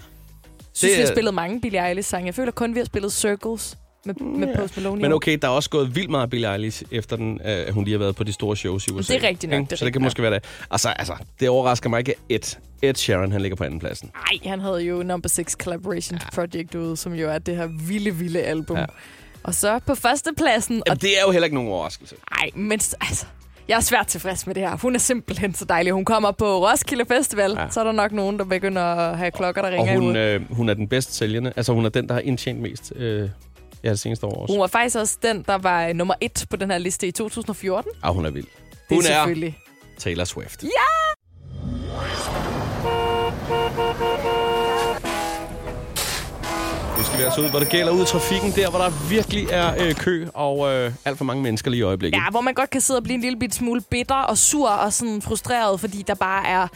S4: synes,
S3: Det
S4: vi har
S3: er-
S4: spillet mange Billie Eilish-sange. Jeg føler kun, vi har spillet Circles med, med
S3: Ja.
S4: Post Malone. i
S3: Men
S4: år.
S3: okay, der er også gået vildt meget Billie Eilish, efter den, øh, at hun lige har været på de store shows i USA.
S4: Det er rigtigt nok,
S3: Ikke?
S4: det er
S3: så det
S4: rigtigt
S3: kan
S4: nok.
S3: måske være det. Altså, altså, det overrasker mig ikke, at Ed, Ed Sheeran han ligger på anden pladsen.
S4: Ej, han havde jo Number 6 Collaboration ja. Project ude, som jo er det her vilde, vilde album. Ja. Og så på førstepladsen...
S3: Jamen, det er jo heller ikke nogen overraskelse.
S4: Nej, men s- altså... Jeg er svært tilfreds med det her. Hun er simpelthen så dejlig. Hun kommer på Roskilde Festival, ja. så er der nok nogen, der begynder at have klokker, der ringer
S3: Og
S4: i
S3: hun,
S4: hovedet.
S3: øh, hun er den bedst sælgende. Altså, hun er den, der har indtjent mest øh, ja, det seneste år også.
S4: Hun var faktisk også den, der var øh, nummer et på den her liste i 2014.
S3: Ah, hun er vild.
S4: er
S3: Hun
S4: selvfølgelig.
S3: er Taylor Swift.
S4: Ja!
S3: Nu skal vi altså ud, hvor det gælder ud i trafikken, der hvor der virkelig er øh, kø og øh, alt for mange mennesker lige i øjeblikket.
S4: Ja, hvor man godt kan sidde og blive en lille bit smule bitter og sur og sådan frustreret, fordi der bare er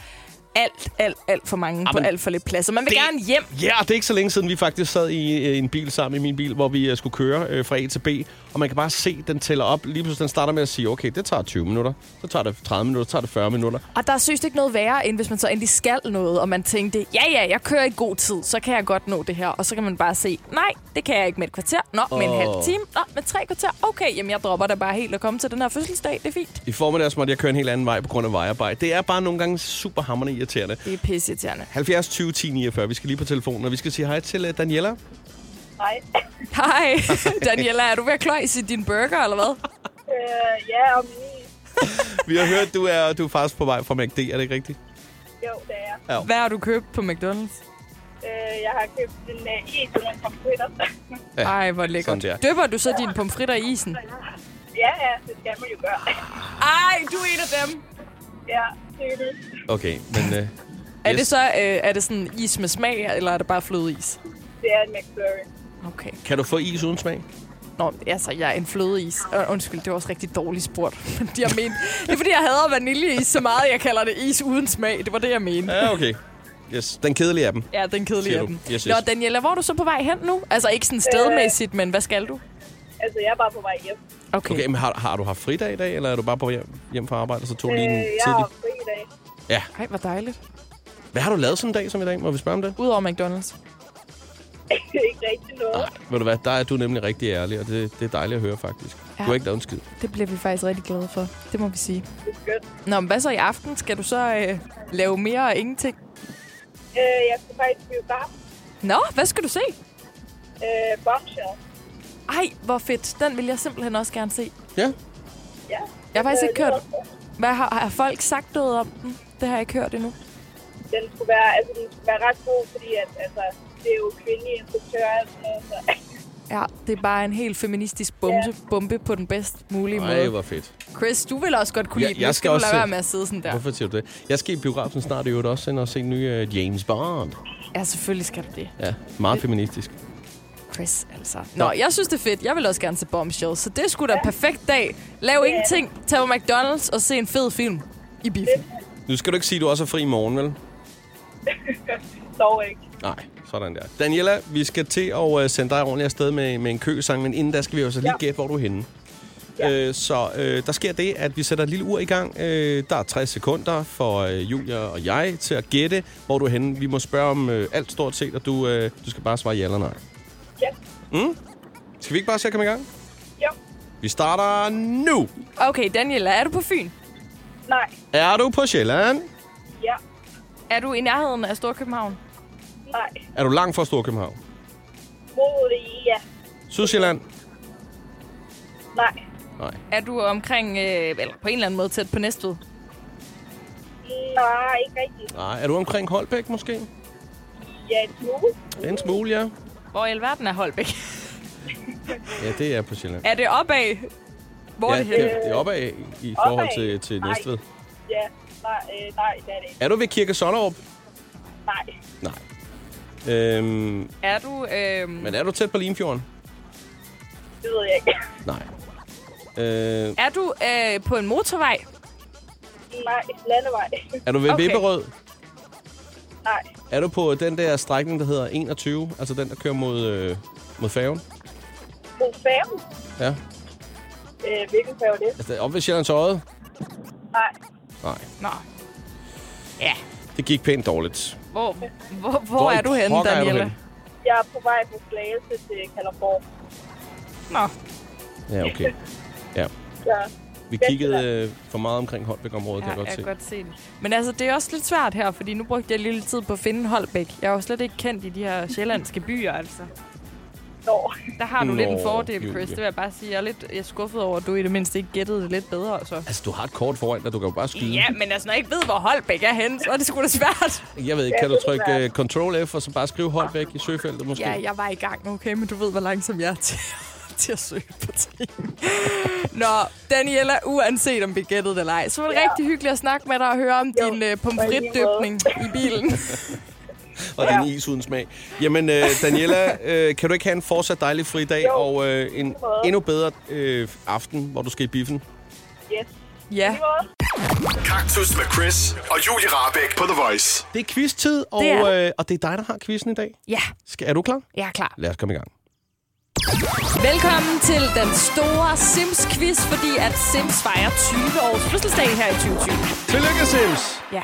S4: alt, alt, alt for mange Jamen, på
S3: Ah, men
S4: alt for lidt plads. Og man vil det... gerne hjem.
S3: Ja, og det er ikke så længe siden, vi faktisk sad i øh, en bil sammen i min bil, hvor vi øh, skulle køre øh, fra A til B. Og man kan bare se, den tæller op. Lige pludselig den starter med at sige, okay, det tager 20 minutter, så tager det 30 minutter, så tager det 40 minutter.
S4: Og der synes ikke noget værre, end hvis man så endelig skal noget, og man tænkte, ja ja, jeg kører i god tid, så kan jeg godt nå det her. Og så kan man bare se, nej, det kan jeg ikke med et kvarter. Nå, med en
S3: Åh.
S4: halv time. Nå, med tre kvarter. Okay, jamen jeg dropper da bare helt og komme til den her fødselsdag. Det er fint.
S3: I formiddags måtte jeg køre en helt anden vej på grund af vejarbejde. Det er bare nogle gange super hammerne irriterende.
S4: Det er pisseirriterende.
S3: 70 20 10 49. Vi skal lige på telefonen, og vi skal sige hej til øh, Daniela.
S14: Hej.
S3: (laughs)
S4: Hej, Daniela, er du ved at kløjs i din burger, eller hvad?
S14: Øh, ja, og min is.
S3: Vi har hørt, du er, du er faktisk på vej fra MACD, er det ikke rigtigt?
S14: Jo, det er jeg.
S3: Ja.
S4: Hvad har du købt på McDonald's?
S14: Øh, jeg har købt en uh, is med pomfritter.
S3: Ja,
S4: Ej, hvor lækkert.
S3: sådan der.
S4: Døber du så dine pomfritter i
S14: (laughs)
S4: isen?
S14: ja, ja, det skal man jo gøre. (laughs)
S4: Ej, du er en af dem.
S14: Ja, det er det.
S3: Okay, men øh,
S4: Er
S3: Yes.
S4: det så øh, er det sådan is med smag, eller er det bare flødeis?
S14: Det er en McFlurry.
S4: Okay.
S3: kan du få is uden smag?
S4: Nå, altså, jeg er en flødeis. Øh, Undskyld, det var også rigtig dårligt spurgt. (laughs) Men det, jeg mente, det er, fordi jeg hader vaniljeis så meget, jeg kalder det is uden smag. Det var det, jeg mente.
S3: Ja, okay. Yes, den kedelige af dem.
S4: Ja, den kedelige
S3: Siger
S4: af
S3: du.
S4: dem.
S3: Yes, yes.
S4: Nå, Daniela, hvor er du så på vej hen nu? Altså, ikke
S14: Øh.
S4: sådan stedmæssigt, men hvad skal du?
S14: Altså, jeg er bare på vej hjem.
S4: Okay.
S3: okay men har, har du haft fridag i dag, eller er du bare på hjem, hjem fra arbejde, og så tog lige
S4: Øh,
S3: en
S14: jeg har
S3: tidlig?
S14: fri i dag.
S3: Ja.
S4: Ej, hvor dejligt.
S3: Hvad har du lavet sådan en dag som i dag? Må vi spørge om det?
S4: Udover McDonald's.
S14: ikke rigtig noget.
S3: Ved du hvad, der er du nemlig rigtig ærlig, og det, det er dejligt at høre, faktisk. Ja.
S4: Ja.
S3: Du har ikke lavet en skid.
S4: Det bliver vi faktisk rigtig glade for. Det må vi sige.
S14: Det er skønt.
S4: Nå, men hvad så i aften? Skal du så øh, lave mere og ingenting?
S14: Øh, jeg skal faktisk blive bare.
S4: Nå, hvad skal du se?
S14: Øh, bombshell.
S4: Ej, hvor fedt. Den vil jeg simpelthen også gerne se.
S3: Ja.
S14: Ja.
S4: Jeg har faktisk
S14: Øh,
S4: ikke hørt... Hvad har, har folk sagt noget om den? Det har jeg ikke hørt endnu.
S14: Den skulle være, altså, den skulle være ret god, fordi at, altså, det er jo kvindelige instruktører og sådan noget, så
S4: Ja, det er bare en helt feministisk bombe, yeah. bombe på den bedst mulige
S3: Ej,
S4: måde.
S3: hvor fedt.
S4: Chris, du vil også godt kunne lide den. Nu du lade være med at sidde sådan der.
S3: Hvorfor siger du det? Jeg skal i biografen snart i øvrigt også ind og se en ny uh, James Bond.
S4: Ja, selvfølgelig skal du det.
S3: Ja, meget feministisk.
S4: Chris, altså. Nå, jeg synes, det er fedt. Jeg vil også gerne se Bombshell, så det skulle sgu da en perfekt dag. Lav ingenting, tag på McDonald's og se en fed film i biffen.
S3: Nu skal du ikke sige, at du også er fri i morgen, vel?
S14: (laughs) dog ikke.
S3: Nej, sådan der. Daniela, vi skal til at øh, sende dig ordentligt afsted med, med en køsang, men inden da skal vi jo så lige gætte, hvor du er henne. Ja. Øh, så øh, der sker det, at vi sætter et lille ur i gang. Øh, der er 60 sekunder for øh, Julia og jeg til at gætte, hvor du er henne. Vi må spørge om øh, alt stort set, og du, øh, du skal bare svare ja eller nej.
S14: Ja.
S3: Mm? Skal vi ikke bare se at komme i gang?
S14: Jo.
S3: Vi starter nu.
S4: Okay, Daniela, er du på Fyn?
S14: Nej.
S3: Er du på Sjælland?
S14: Ja.
S4: Er du i nærheden af Storkøbenhavn?
S14: Nej.
S3: Er du langt fra Storkøbenhavn?
S14: Mod ja.
S3: Sydsjælland?
S14: Nej.
S3: Nej.
S4: Er du omkring, øh, eller på en eller anden måde tæt på Næstved?
S14: Nej, ikke rigtigt.
S3: Nej. Er du omkring Holbæk måske?
S14: Ja, en smule.
S3: En smule, ja.
S4: Hvor i alverden er Holbæk? (laughs)
S3: Ja, det er på Sjælland.
S4: er det opad? Hvor
S3: ja,
S4: er det henne?
S3: Det er opad i forhold
S14: Opad?
S3: til, til
S14: Nej.
S3: Næstved.
S14: Ja, nej, øh, nej, det er det ikke.
S3: Er du ved Kirke Sollerup?
S14: Nej.
S3: Nej. Øhm,
S4: Er du... Øhm,
S3: men er du tæt på Limfjorden?
S14: Det ved jeg ikke.
S3: Nej. Øh,
S4: er du øh, på en motorvej?
S14: Nej, landevej.
S3: er du ved okay.
S4: Okay.
S3: Vipperød?
S14: Nej.
S3: Er du på den der strækning, der hedder 21? Altså den, der kører mod, øh, mod færgen?
S14: Mod færgen?
S3: Ja.
S14: Øh, hvilken færge er det?
S3: Altså op ved Sjællands Øje?
S14: Nej.
S3: Nej.
S4: Nå. Ja.
S3: Det gik pænt dårligt.
S4: Hvor, hvor, hvor,
S3: Hvor i
S4: er du henne,
S3: pokker er du
S4: Daniela?
S3: henne?
S14: Jeg er på vej fra Slagelse til Kalderborg.
S4: Nå.
S3: Ja, okay. Ja.
S14: Så,
S3: Vi kiggede øh, for meget omkring Holbæk-området, kan jeg godt se.
S4: se det. Men altså, det er også lidt svært her, fordi nu brugte jeg lidt tid på at finde Holbæk. Jeg er jo slet ikke kendt i de her sjællandske byer, altså.
S14: år.
S4: Der har du
S3: Nå,
S4: lidt en fordel,
S3: Julie.
S4: Chris. Det vil jeg bare sige. Jeg er, lidt, jeg er skuffet over, at du i det mindste ikke gættede det lidt bedre. Så.
S3: Altså, du har et kort foran dig, du kan jo bare skyde.
S4: Ja, men altså, når jeg ikke ved, hvor Holbæk er henne, så er det sgu da svært.
S3: Jeg ved ikke, kan du trykke uh, Ctrl F, og så bare skrive Holbæk i søgefeltet måske?
S4: (laughs) Ja, jeg var i gang, okay, men du ved, hvor langsom jeg er til, (laughs) til at søge på ting. (laughs) Nå, Daniela, uanset om vi gættede det eller ej, så var det ja. rigtig hyggeligt at snakke med dig og høre om jo, din uh, pomfritdøbning i bilen. (laughs)
S3: og den is uden smag. Jamen, øh, Daniela, øh, kan du ikke have en fortsat dejlig fri dag, jo, og øh, en endnu bedre øh, aften, hvor du skal i biffen?
S14: Yes.
S4: Ja.
S15: Kaktus med Chris og Julie Rabeck på The Voice.
S3: Det er quiz-tid, og,
S15: Det er
S3: det øh, og det er dig, der har quizzen i dag.
S4: Ja.
S3: Skal, er du klar?
S4: Jeg er klar.
S3: Lad os komme i gang.
S4: Velkommen til den store Sims-quiz, fordi at Sims fejrer 20 års fødselsdag her i 2020.
S3: Tillykke, Sims!
S4: Ja.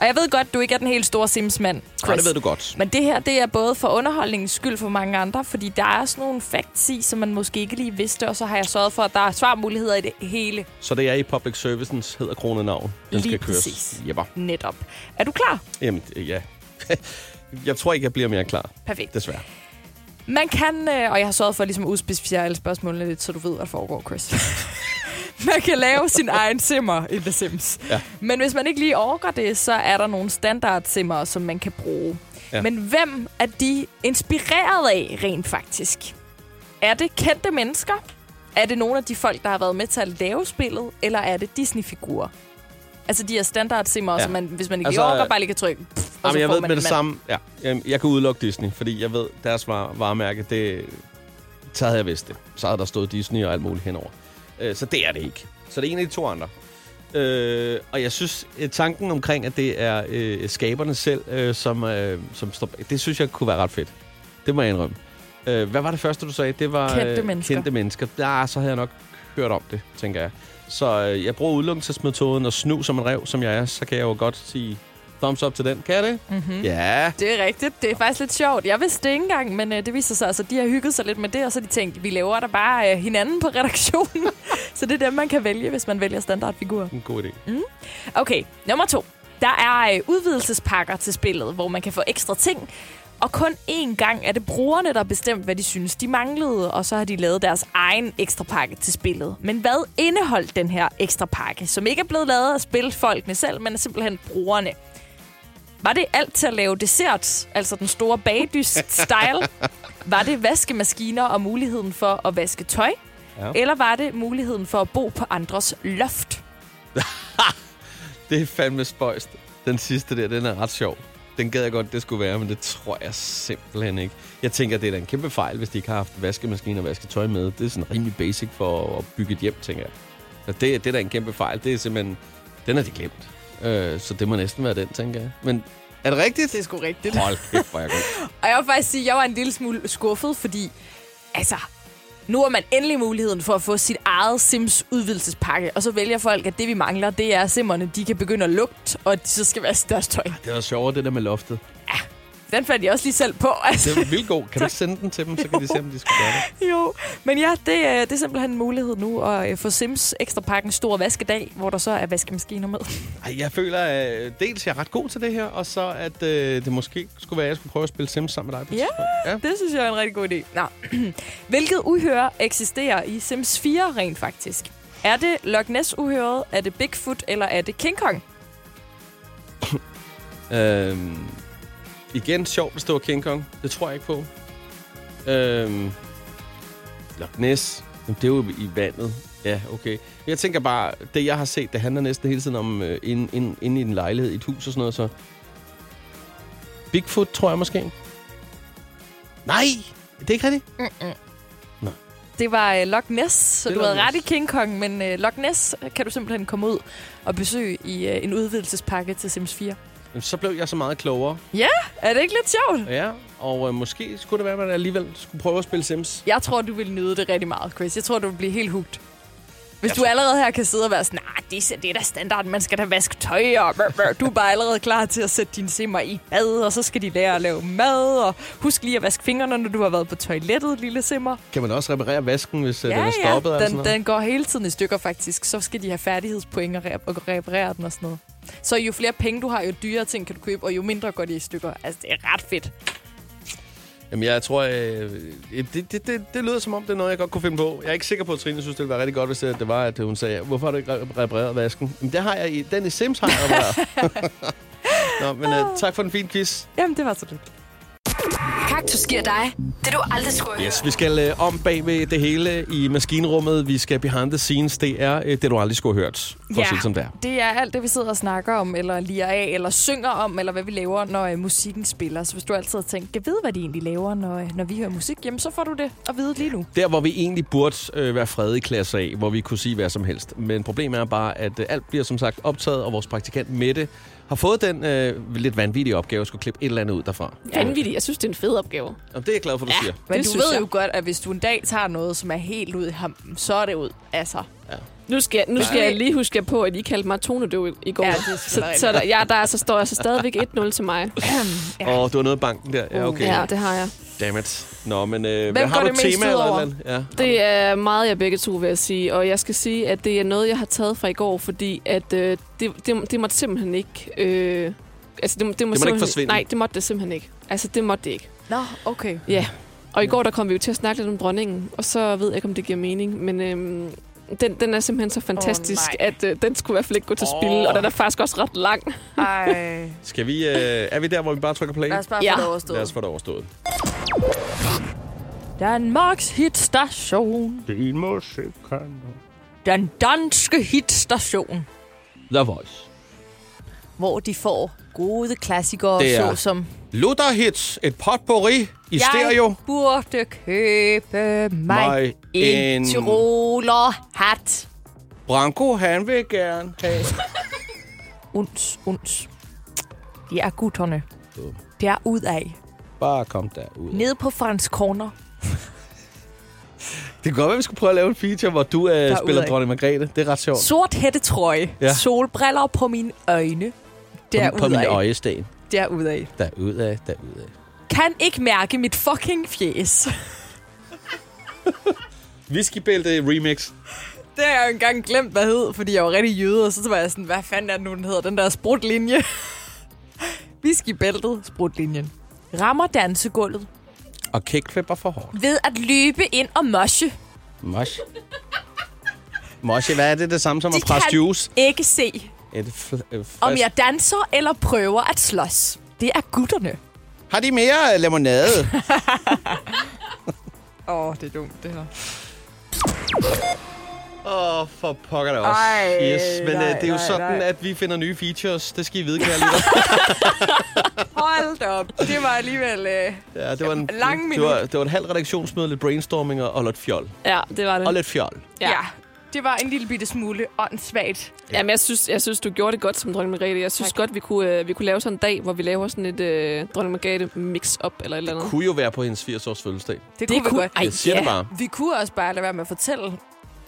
S4: Og jeg ved godt, du ikke er den helt store Sims-mand, Chris.
S3: Nej, det ved du godt.
S4: Men det her, det er både for underholdningens skyld for mange andre, fordi der er sådan nogle facts i, som man måske ikke lige vidste, og så har jeg sørget for, at der er svarmuligheder i det hele
S3: Så det er i public servicens hedder kronet navn. Den
S4: Lige
S3: skal køres.
S4: præcis.
S3: Jepper.
S4: netop. Er du klar?
S3: Jamen, øh, ja. (laughs) jeg tror ikke, jeg bliver mere klar.
S4: Perfekt.
S3: Desværre.
S4: Man kan, øh, og jeg har sørget for ligesom at udspecificere alle spørgsmålene lidt, så du ved, hvad der foregår, Chris. (laughs) man kan lave sin egen simmer i The Sims.
S3: Ja.
S4: Men hvis man ikke lige orker det, så er der nogle standardsimmer, som man kan bruge.
S3: Ja.
S4: Ja. Men hvem er de inspireret af rent faktisk? Er det kendte mennesker? Er det nogle af de folk, der har været med til at lave spillet? Eller er det Disney-figurer? Altså de her standardsimmer,
S3: Ja.
S4: ja. som man, hvis man ikke
S3: Altså,
S4: altså, orker,
S3: øh,
S4: bare lige kan trykke. Pff, og så
S3: Jamen, jeg
S4: får
S3: ved
S4: man
S3: med
S4: en
S3: det
S4: mand.
S3: samme. Ja, Jamen, jeg kan udelukke Disney, fordi jeg ved, deres var- varemærke, det... Så havde jeg vidst det. Så havde der stået Disney og alt muligt henover. Øh, Så det er det ikke. Så det er en af de to andre. Øh, og jeg synes, øh, tanken omkring, at det er øh, skaberne selv, øh, som, øh, som står bag- det synes jeg kunne være ret fedt. Det må jeg indrømme. Øh, hvad var det første, du sagde? Det var øh,
S4: Kendte mennesker.
S3: kendte mennesker. Ja, så havde jeg nok hørt om det, tænker jeg. Så øh, jeg bruger udelukkelsesmetoden og snu som en rev, som jeg er. Så kan jeg jo godt sige thumbs up til den. Kan jeg det?
S4: Mhm.
S3: Ja.
S4: (laughs) Det er rigtigt. Det er faktisk lidt sjovt. Jeg vidste det ikke engang, men øh, det viser sig, at altså, de har hygget sig lidt med det, og så har de tænkt, vi laver der bare øh, hinanden på redaktionen. (laughs) så det er dem, man kan vælge, hvis man vælger standardfigurer.
S3: En god idé.
S4: Mm. Okay, nummer to. Der er øh, udvidelsespakker til spillet, hvor man kan få ekstra ting. Og kun én gang er det brugerne, der har bestemt, hvad de synes, de manglede, og så har de lavet deres egen ekstra pakke til spillet. Men hvad indeholdt den her ekstra pakke, som ikke er blevet lavet af spilfolkene selv, men er simpelthen brugerne? Var det alt til at lave dessert, altså den store bagdyst-style? var det vaskemaskiner og muligheden for at vaske tøj?
S3: Ja.
S4: Ja. Eller var det muligheden for at bo på andres loft?
S3: Det er fandme spøjst. Den sidste der, den er ret sjov. Den gad jeg godt, det skulle være, men det tror jeg simpelthen ikke. Jeg tænker, det er da en kæmpe fejl, hvis de ikke har haft vaskemaskine og vasketøj med. Det er sådan rimelig basic for at bygge et hjem, tænker jeg. Så det, det er da en kæmpe fejl. Det er simpelthen... Den er de glemt. Øh, så det må næsten være den, tænker jeg. Men er det rigtigt? Det
S4: er sgu rigtigt.
S3: Hold kæft, hvor er jeg god.
S4: Og jeg vil faktisk sige, at jeg var en lille smule skuffet, fordi altså, nu har man endelig muligheden for at få sit eget Sims udvidelsespakke, og så vælger folk, at det vi mangler, det er at simmerne, de kan begynde at lugte, og at de så skal vaske deres tøj.
S3: Det var sjovere, det der med loftet.
S4: Den fandt jeg også lige selv på. Altså.
S3: Det er vildt god. Kan du ikke sende den til dem, så kan de se, om de skal gøre det?
S4: (laughs) Jo, men ja, det, øh, det er simpelthen en mulighed nu at øh, få Sims ekstra pakken stor vaskedag, hvor der så er vaskemaskiner med. (laughs)
S3: Ej, Jeg føler, øh, dels jeg er ret god til det her, og så at øh, det måske skulle være, at jeg skulle prøve at spille Sims sammen med dig. på et
S4: Ja,
S3: tidspunkt. ja,
S4: det synes jeg er en rigtig god idé. Nå. (clears throat) Hvilket uhøre eksisterer i Sims 4 rent faktisk? Er det Loch Ness-uhøret, er det Bigfoot, eller er det King Kong?
S3: Øhm, igen, sjovt, hvis det var King Kong. Det tror jeg ikke på. Øhm, Loch Ness. Jamen, det er jo i vandet. Ja, okay. Jeg tænker bare, det jeg har set, det handler næsten hele tiden om øh, inde ind, ind i en lejlighed, i et hus og sådan noget, så... Bigfoot, tror jeg måske. Nej! Det er ikke rigtigt.
S4: Mm-mm.
S3: Nå.
S4: Det var øh, Loch Ness, så
S3: Det er
S4: du havde
S3: Loch
S4: ret i King Kong, men øh, Loch Ness kan du simpelthen komme ud og besøge i øh, en udvidelsespakke til Sims 4.
S3: Jamen, Så blev jeg så meget klogere.
S4: Ja, er det ikke lidt sjovt?
S3: Ja, og øh, måske skulle det være, at man alligevel skulle prøve at spille Sims.
S4: Jeg tror, du vil nyde det rigtig meget, Chris. Jeg tror, du vil blive helt hugt. Hvis
S3: Jeg
S4: du
S3: tror-
S4: allerede her kan sidde og være sådan, nej, det, er- det er da standard, man skal da vaske tøj, og brr, brr. du er bare allerede klar til at sætte dine simmer i bad, og så skal de lære at lave mad, og husk lige at vaske fingrene, når du har været på toilettet, lille simmer.
S3: Kan man også reparere vasken, hvis ja, den er stoppet? eller sådan
S4: den,
S3: noget?
S4: den går hele tiden i stykker faktisk. Så skal de have færdighedspoint og, rep- og reparere den og sådan noget. Så jo flere penge du har, jo dyrere ting kan du købe, og jo mindre går de i stykker. Altså, det er ret fedt.
S3: Jamen, jeg tror, øh, det, det, det, det lyder som om, det er noget, jeg godt kunne finde på. Jeg er ikke sikker på, at Trine synes, det ville være rigtig godt, hvis øh, det, det var, at hun sagde, hvorfor har du ikke re- repareret vasken? Jamen, det har jeg i. Den i Sims har jeg repareret. Nå, men øh, tak for den fine quiz.
S4: Jamen, det var så lidt.
S2: Kaktus giver dig det, du aldrig skulle have
S3: Yes, vi skal øh, om bag ved det hele i maskinrummet. Vi skal behind the scenes. Det er øh, det, du aldrig skulle have hørt. For at sige det, som det er.
S4: det er alt det, vi sidder og snakker om, eller lirer af, eller synger om, eller hvad vi laver, når øh, musikken spiller. Så hvis du altid har tænkt, kan vide, hvad de egentlig laver, når, øh, når vi hører musik, jamen så får du det at vide lige nu.
S3: Der, hvor vi egentlig burde øh, være fred i klasse af, hvor vi kunne sige hvad som helst. Men problemet er bare, at øh, alt bliver som sagt optaget, og vores praktikant Mette har fået den øh, lidt vanvittige opgave at skulle klippe et eller andet ud derfra.
S16: Vanvittigt. Jeg synes, det er en fed opgave.
S3: Jamen, det er jeg glad for, du ja.
S16: (clears throat)
S3: siger.
S4: Men
S16: Det
S4: det du
S16: synes
S4: ved
S16: jeg.
S4: jo godt, at hvis du en dag tager noget, som er helt ud i hampen, så er det ud. Altså,
S3: ja.
S16: Nu skal, nu
S4: Nej.
S16: skal jeg lige huske jer på, at I kaldte mig tonedøv i, i går.
S4: Ja, det er sgu
S16: så,
S4: da
S16: så
S4: rigtigt.
S16: der, ja, der er, så står jeg så stadigvæk 1-0 til mig.
S3: Åh, ja. oh, du har noget i banken der. Ja, okay.
S16: Ja, det har jeg.
S3: Dammit. Nå, men øh,
S16: Hvem
S3: hvad har
S16: går
S3: du et
S16: det mest
S3: tema
S16: ud
S3: eller et
S16: over?
S3: eller andet? Ja.
S16: Det er meget jeg begge to, vil jeg sige. Og jeg skal sige, at det er noget, jeg har taget fra i går, fordi at, øh, det, det, det måtte simpelthen ikke... Øh, altså, det, må- det, må
S3: ikke
S16: simpelthen-
S3: forsvinde.
S16: Nej, det måtte det simpelthen ikke. Altså, det måtte det ikke.
S4: Nå, okay.
S16: Ja, og i går der kom vi jo til at snakke lidt om dronningen, og så ved jeg ikke, om det giver mening, men øhm, den, den er simpelthen så fantastisk,
S4: Åh,
S16: oh, at øh, den skulle i hvert fald ikke gå til spil, og den er faktisk også ret lang.
S4: Ej.
S3: Skal vi, øh, er vi der, hvor vi bare trykker play?
S4: Lad os bare få Ja. det overstået.
S3: Lad os få det overstået.
S4: Danmarks hitstation.
S3: Det må sikkert.
S4: Den danske hitstation.
S3: The Voice.
S4: Hvor de får gode klassikere,
S3: Det er-
S4: såsom...
S3: Luther Hits, et potpourri i
S4: jeg
S3: stereo.
S4: burde købe mig,
S3: Mig
S4: en,
S3: en-
S4: en Tiroler hat.
S3: Branko, han vil gerne have...
S4: Uns, uns. De er gutterne. Det er ud af.
S3: Bare kom derud.
S4: Nede på Frans Corner.
S3: Det kan godt være, vi skulle prøve at lave en feature, hvor du øh, spiller
S4: Derudad.
S3: dronning Margrethe. Det er ret sjovt.
S4: Sort hættetrøje.
S3: Ja.
S4: Ja. Solbriller på mine øjne.
S3: på, på mine
S4: Derudad.
S3: øjesten.
S4: Derudad.
S3: Derudad, derudad.
S4: Kan ikke mærke mit fucking fjes.
S3: Whiskybælte remix.
S4: Det har jeg jo engang glemt, hvad hed, fordi jeg var rigtig jøde, og så var jeg sådan, hvad fanden er det nu, den hedder, den der sprutlinje. (laughs) Whiskybæltet, sprutlinjen. Rammer dansegulvet
S3: Og kickflipper for hårdt.
S4: ved at løbe ind og moshe. (laughs)
S3: Mosh. Mosh, hvad er det det samme som at
S4: De
S3: presse
S4: kan
S3: juice?
S4: ikke se,
S3: Et fl- øh, frisk-
S4: om jeg danser eller prøver at slås. Det er gutterne.
S3: Har de mere øh,
S4: (laughs)
S3: limonade?
S4: Åh, oh, det er dumt, det her.
S3: Åh, oh, for pokker det også.
S4: Ej,
S3: yes, men nej,
S4: nej,
S3: det er jo
S4: nej,
S3: sådan,
S4: nej.
S3: at vi finder nye features. Det skal I vide, kære
S4: (laughs)
S3: lytter.
S4: Hold da op, det var alligevel... Øh...
S3: Ja, det var en,
S4: Lang
S3: det var,
S4: minut.
S3: det var et halvt redaktionsmøde, lidt brainstorming og, og lidt fjol.
S16: Ja, det var det.
S3: Og lidt fjol.
S16: Ja.
S4: ja. Det var en lille bitte smule åndssvagt.
S16: Jamen, jeg synes, jeg synes, du gjorde det godt som dronning Margrethe. Jeg synes tak. godt, vi kunne, øh, vi kunne lave sådan en dag, hvor vi laver sådan et øh, dronning Margrethe mix-up eller et eller andet.
S3: Kunne jo være på hendes 80-års fødselsdag.
S4: Det, det kunne, vi godt.
S3: Ej, jeg siger det bare.
S4: Vi kunne også bare lade være med at fortælle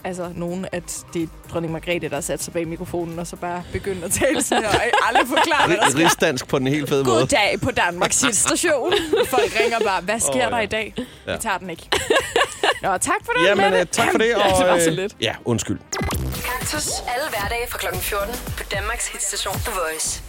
S4: altså, nogen, at det er dronning Margrethe, der har sat sig bag mikrofonen, og så bare begynde at tale sådan her, og (laughs) aldrig forklare, hvad der
S3: Ri-
S4: sker.
S3: Rigsdansk på den helt fede måde.
S4: God dag på Danmarks station. Folk ringer bare, hvad sker
S3: Åh, ja.
S4: oh, der i dag? Ja.
S3: Ja.
S4: Vi tager den ikke. Nå, tak for det,
S3: Jamen,
S4: Mette.
S3: øh, tak for det. Og,
S4: ja, det var så
S3: øh,
S4: lidt.
S3: Ja, undskyld.
S2: Kaktus alle hverdage fra kl. 14 på Danmarks hitstation The Voice.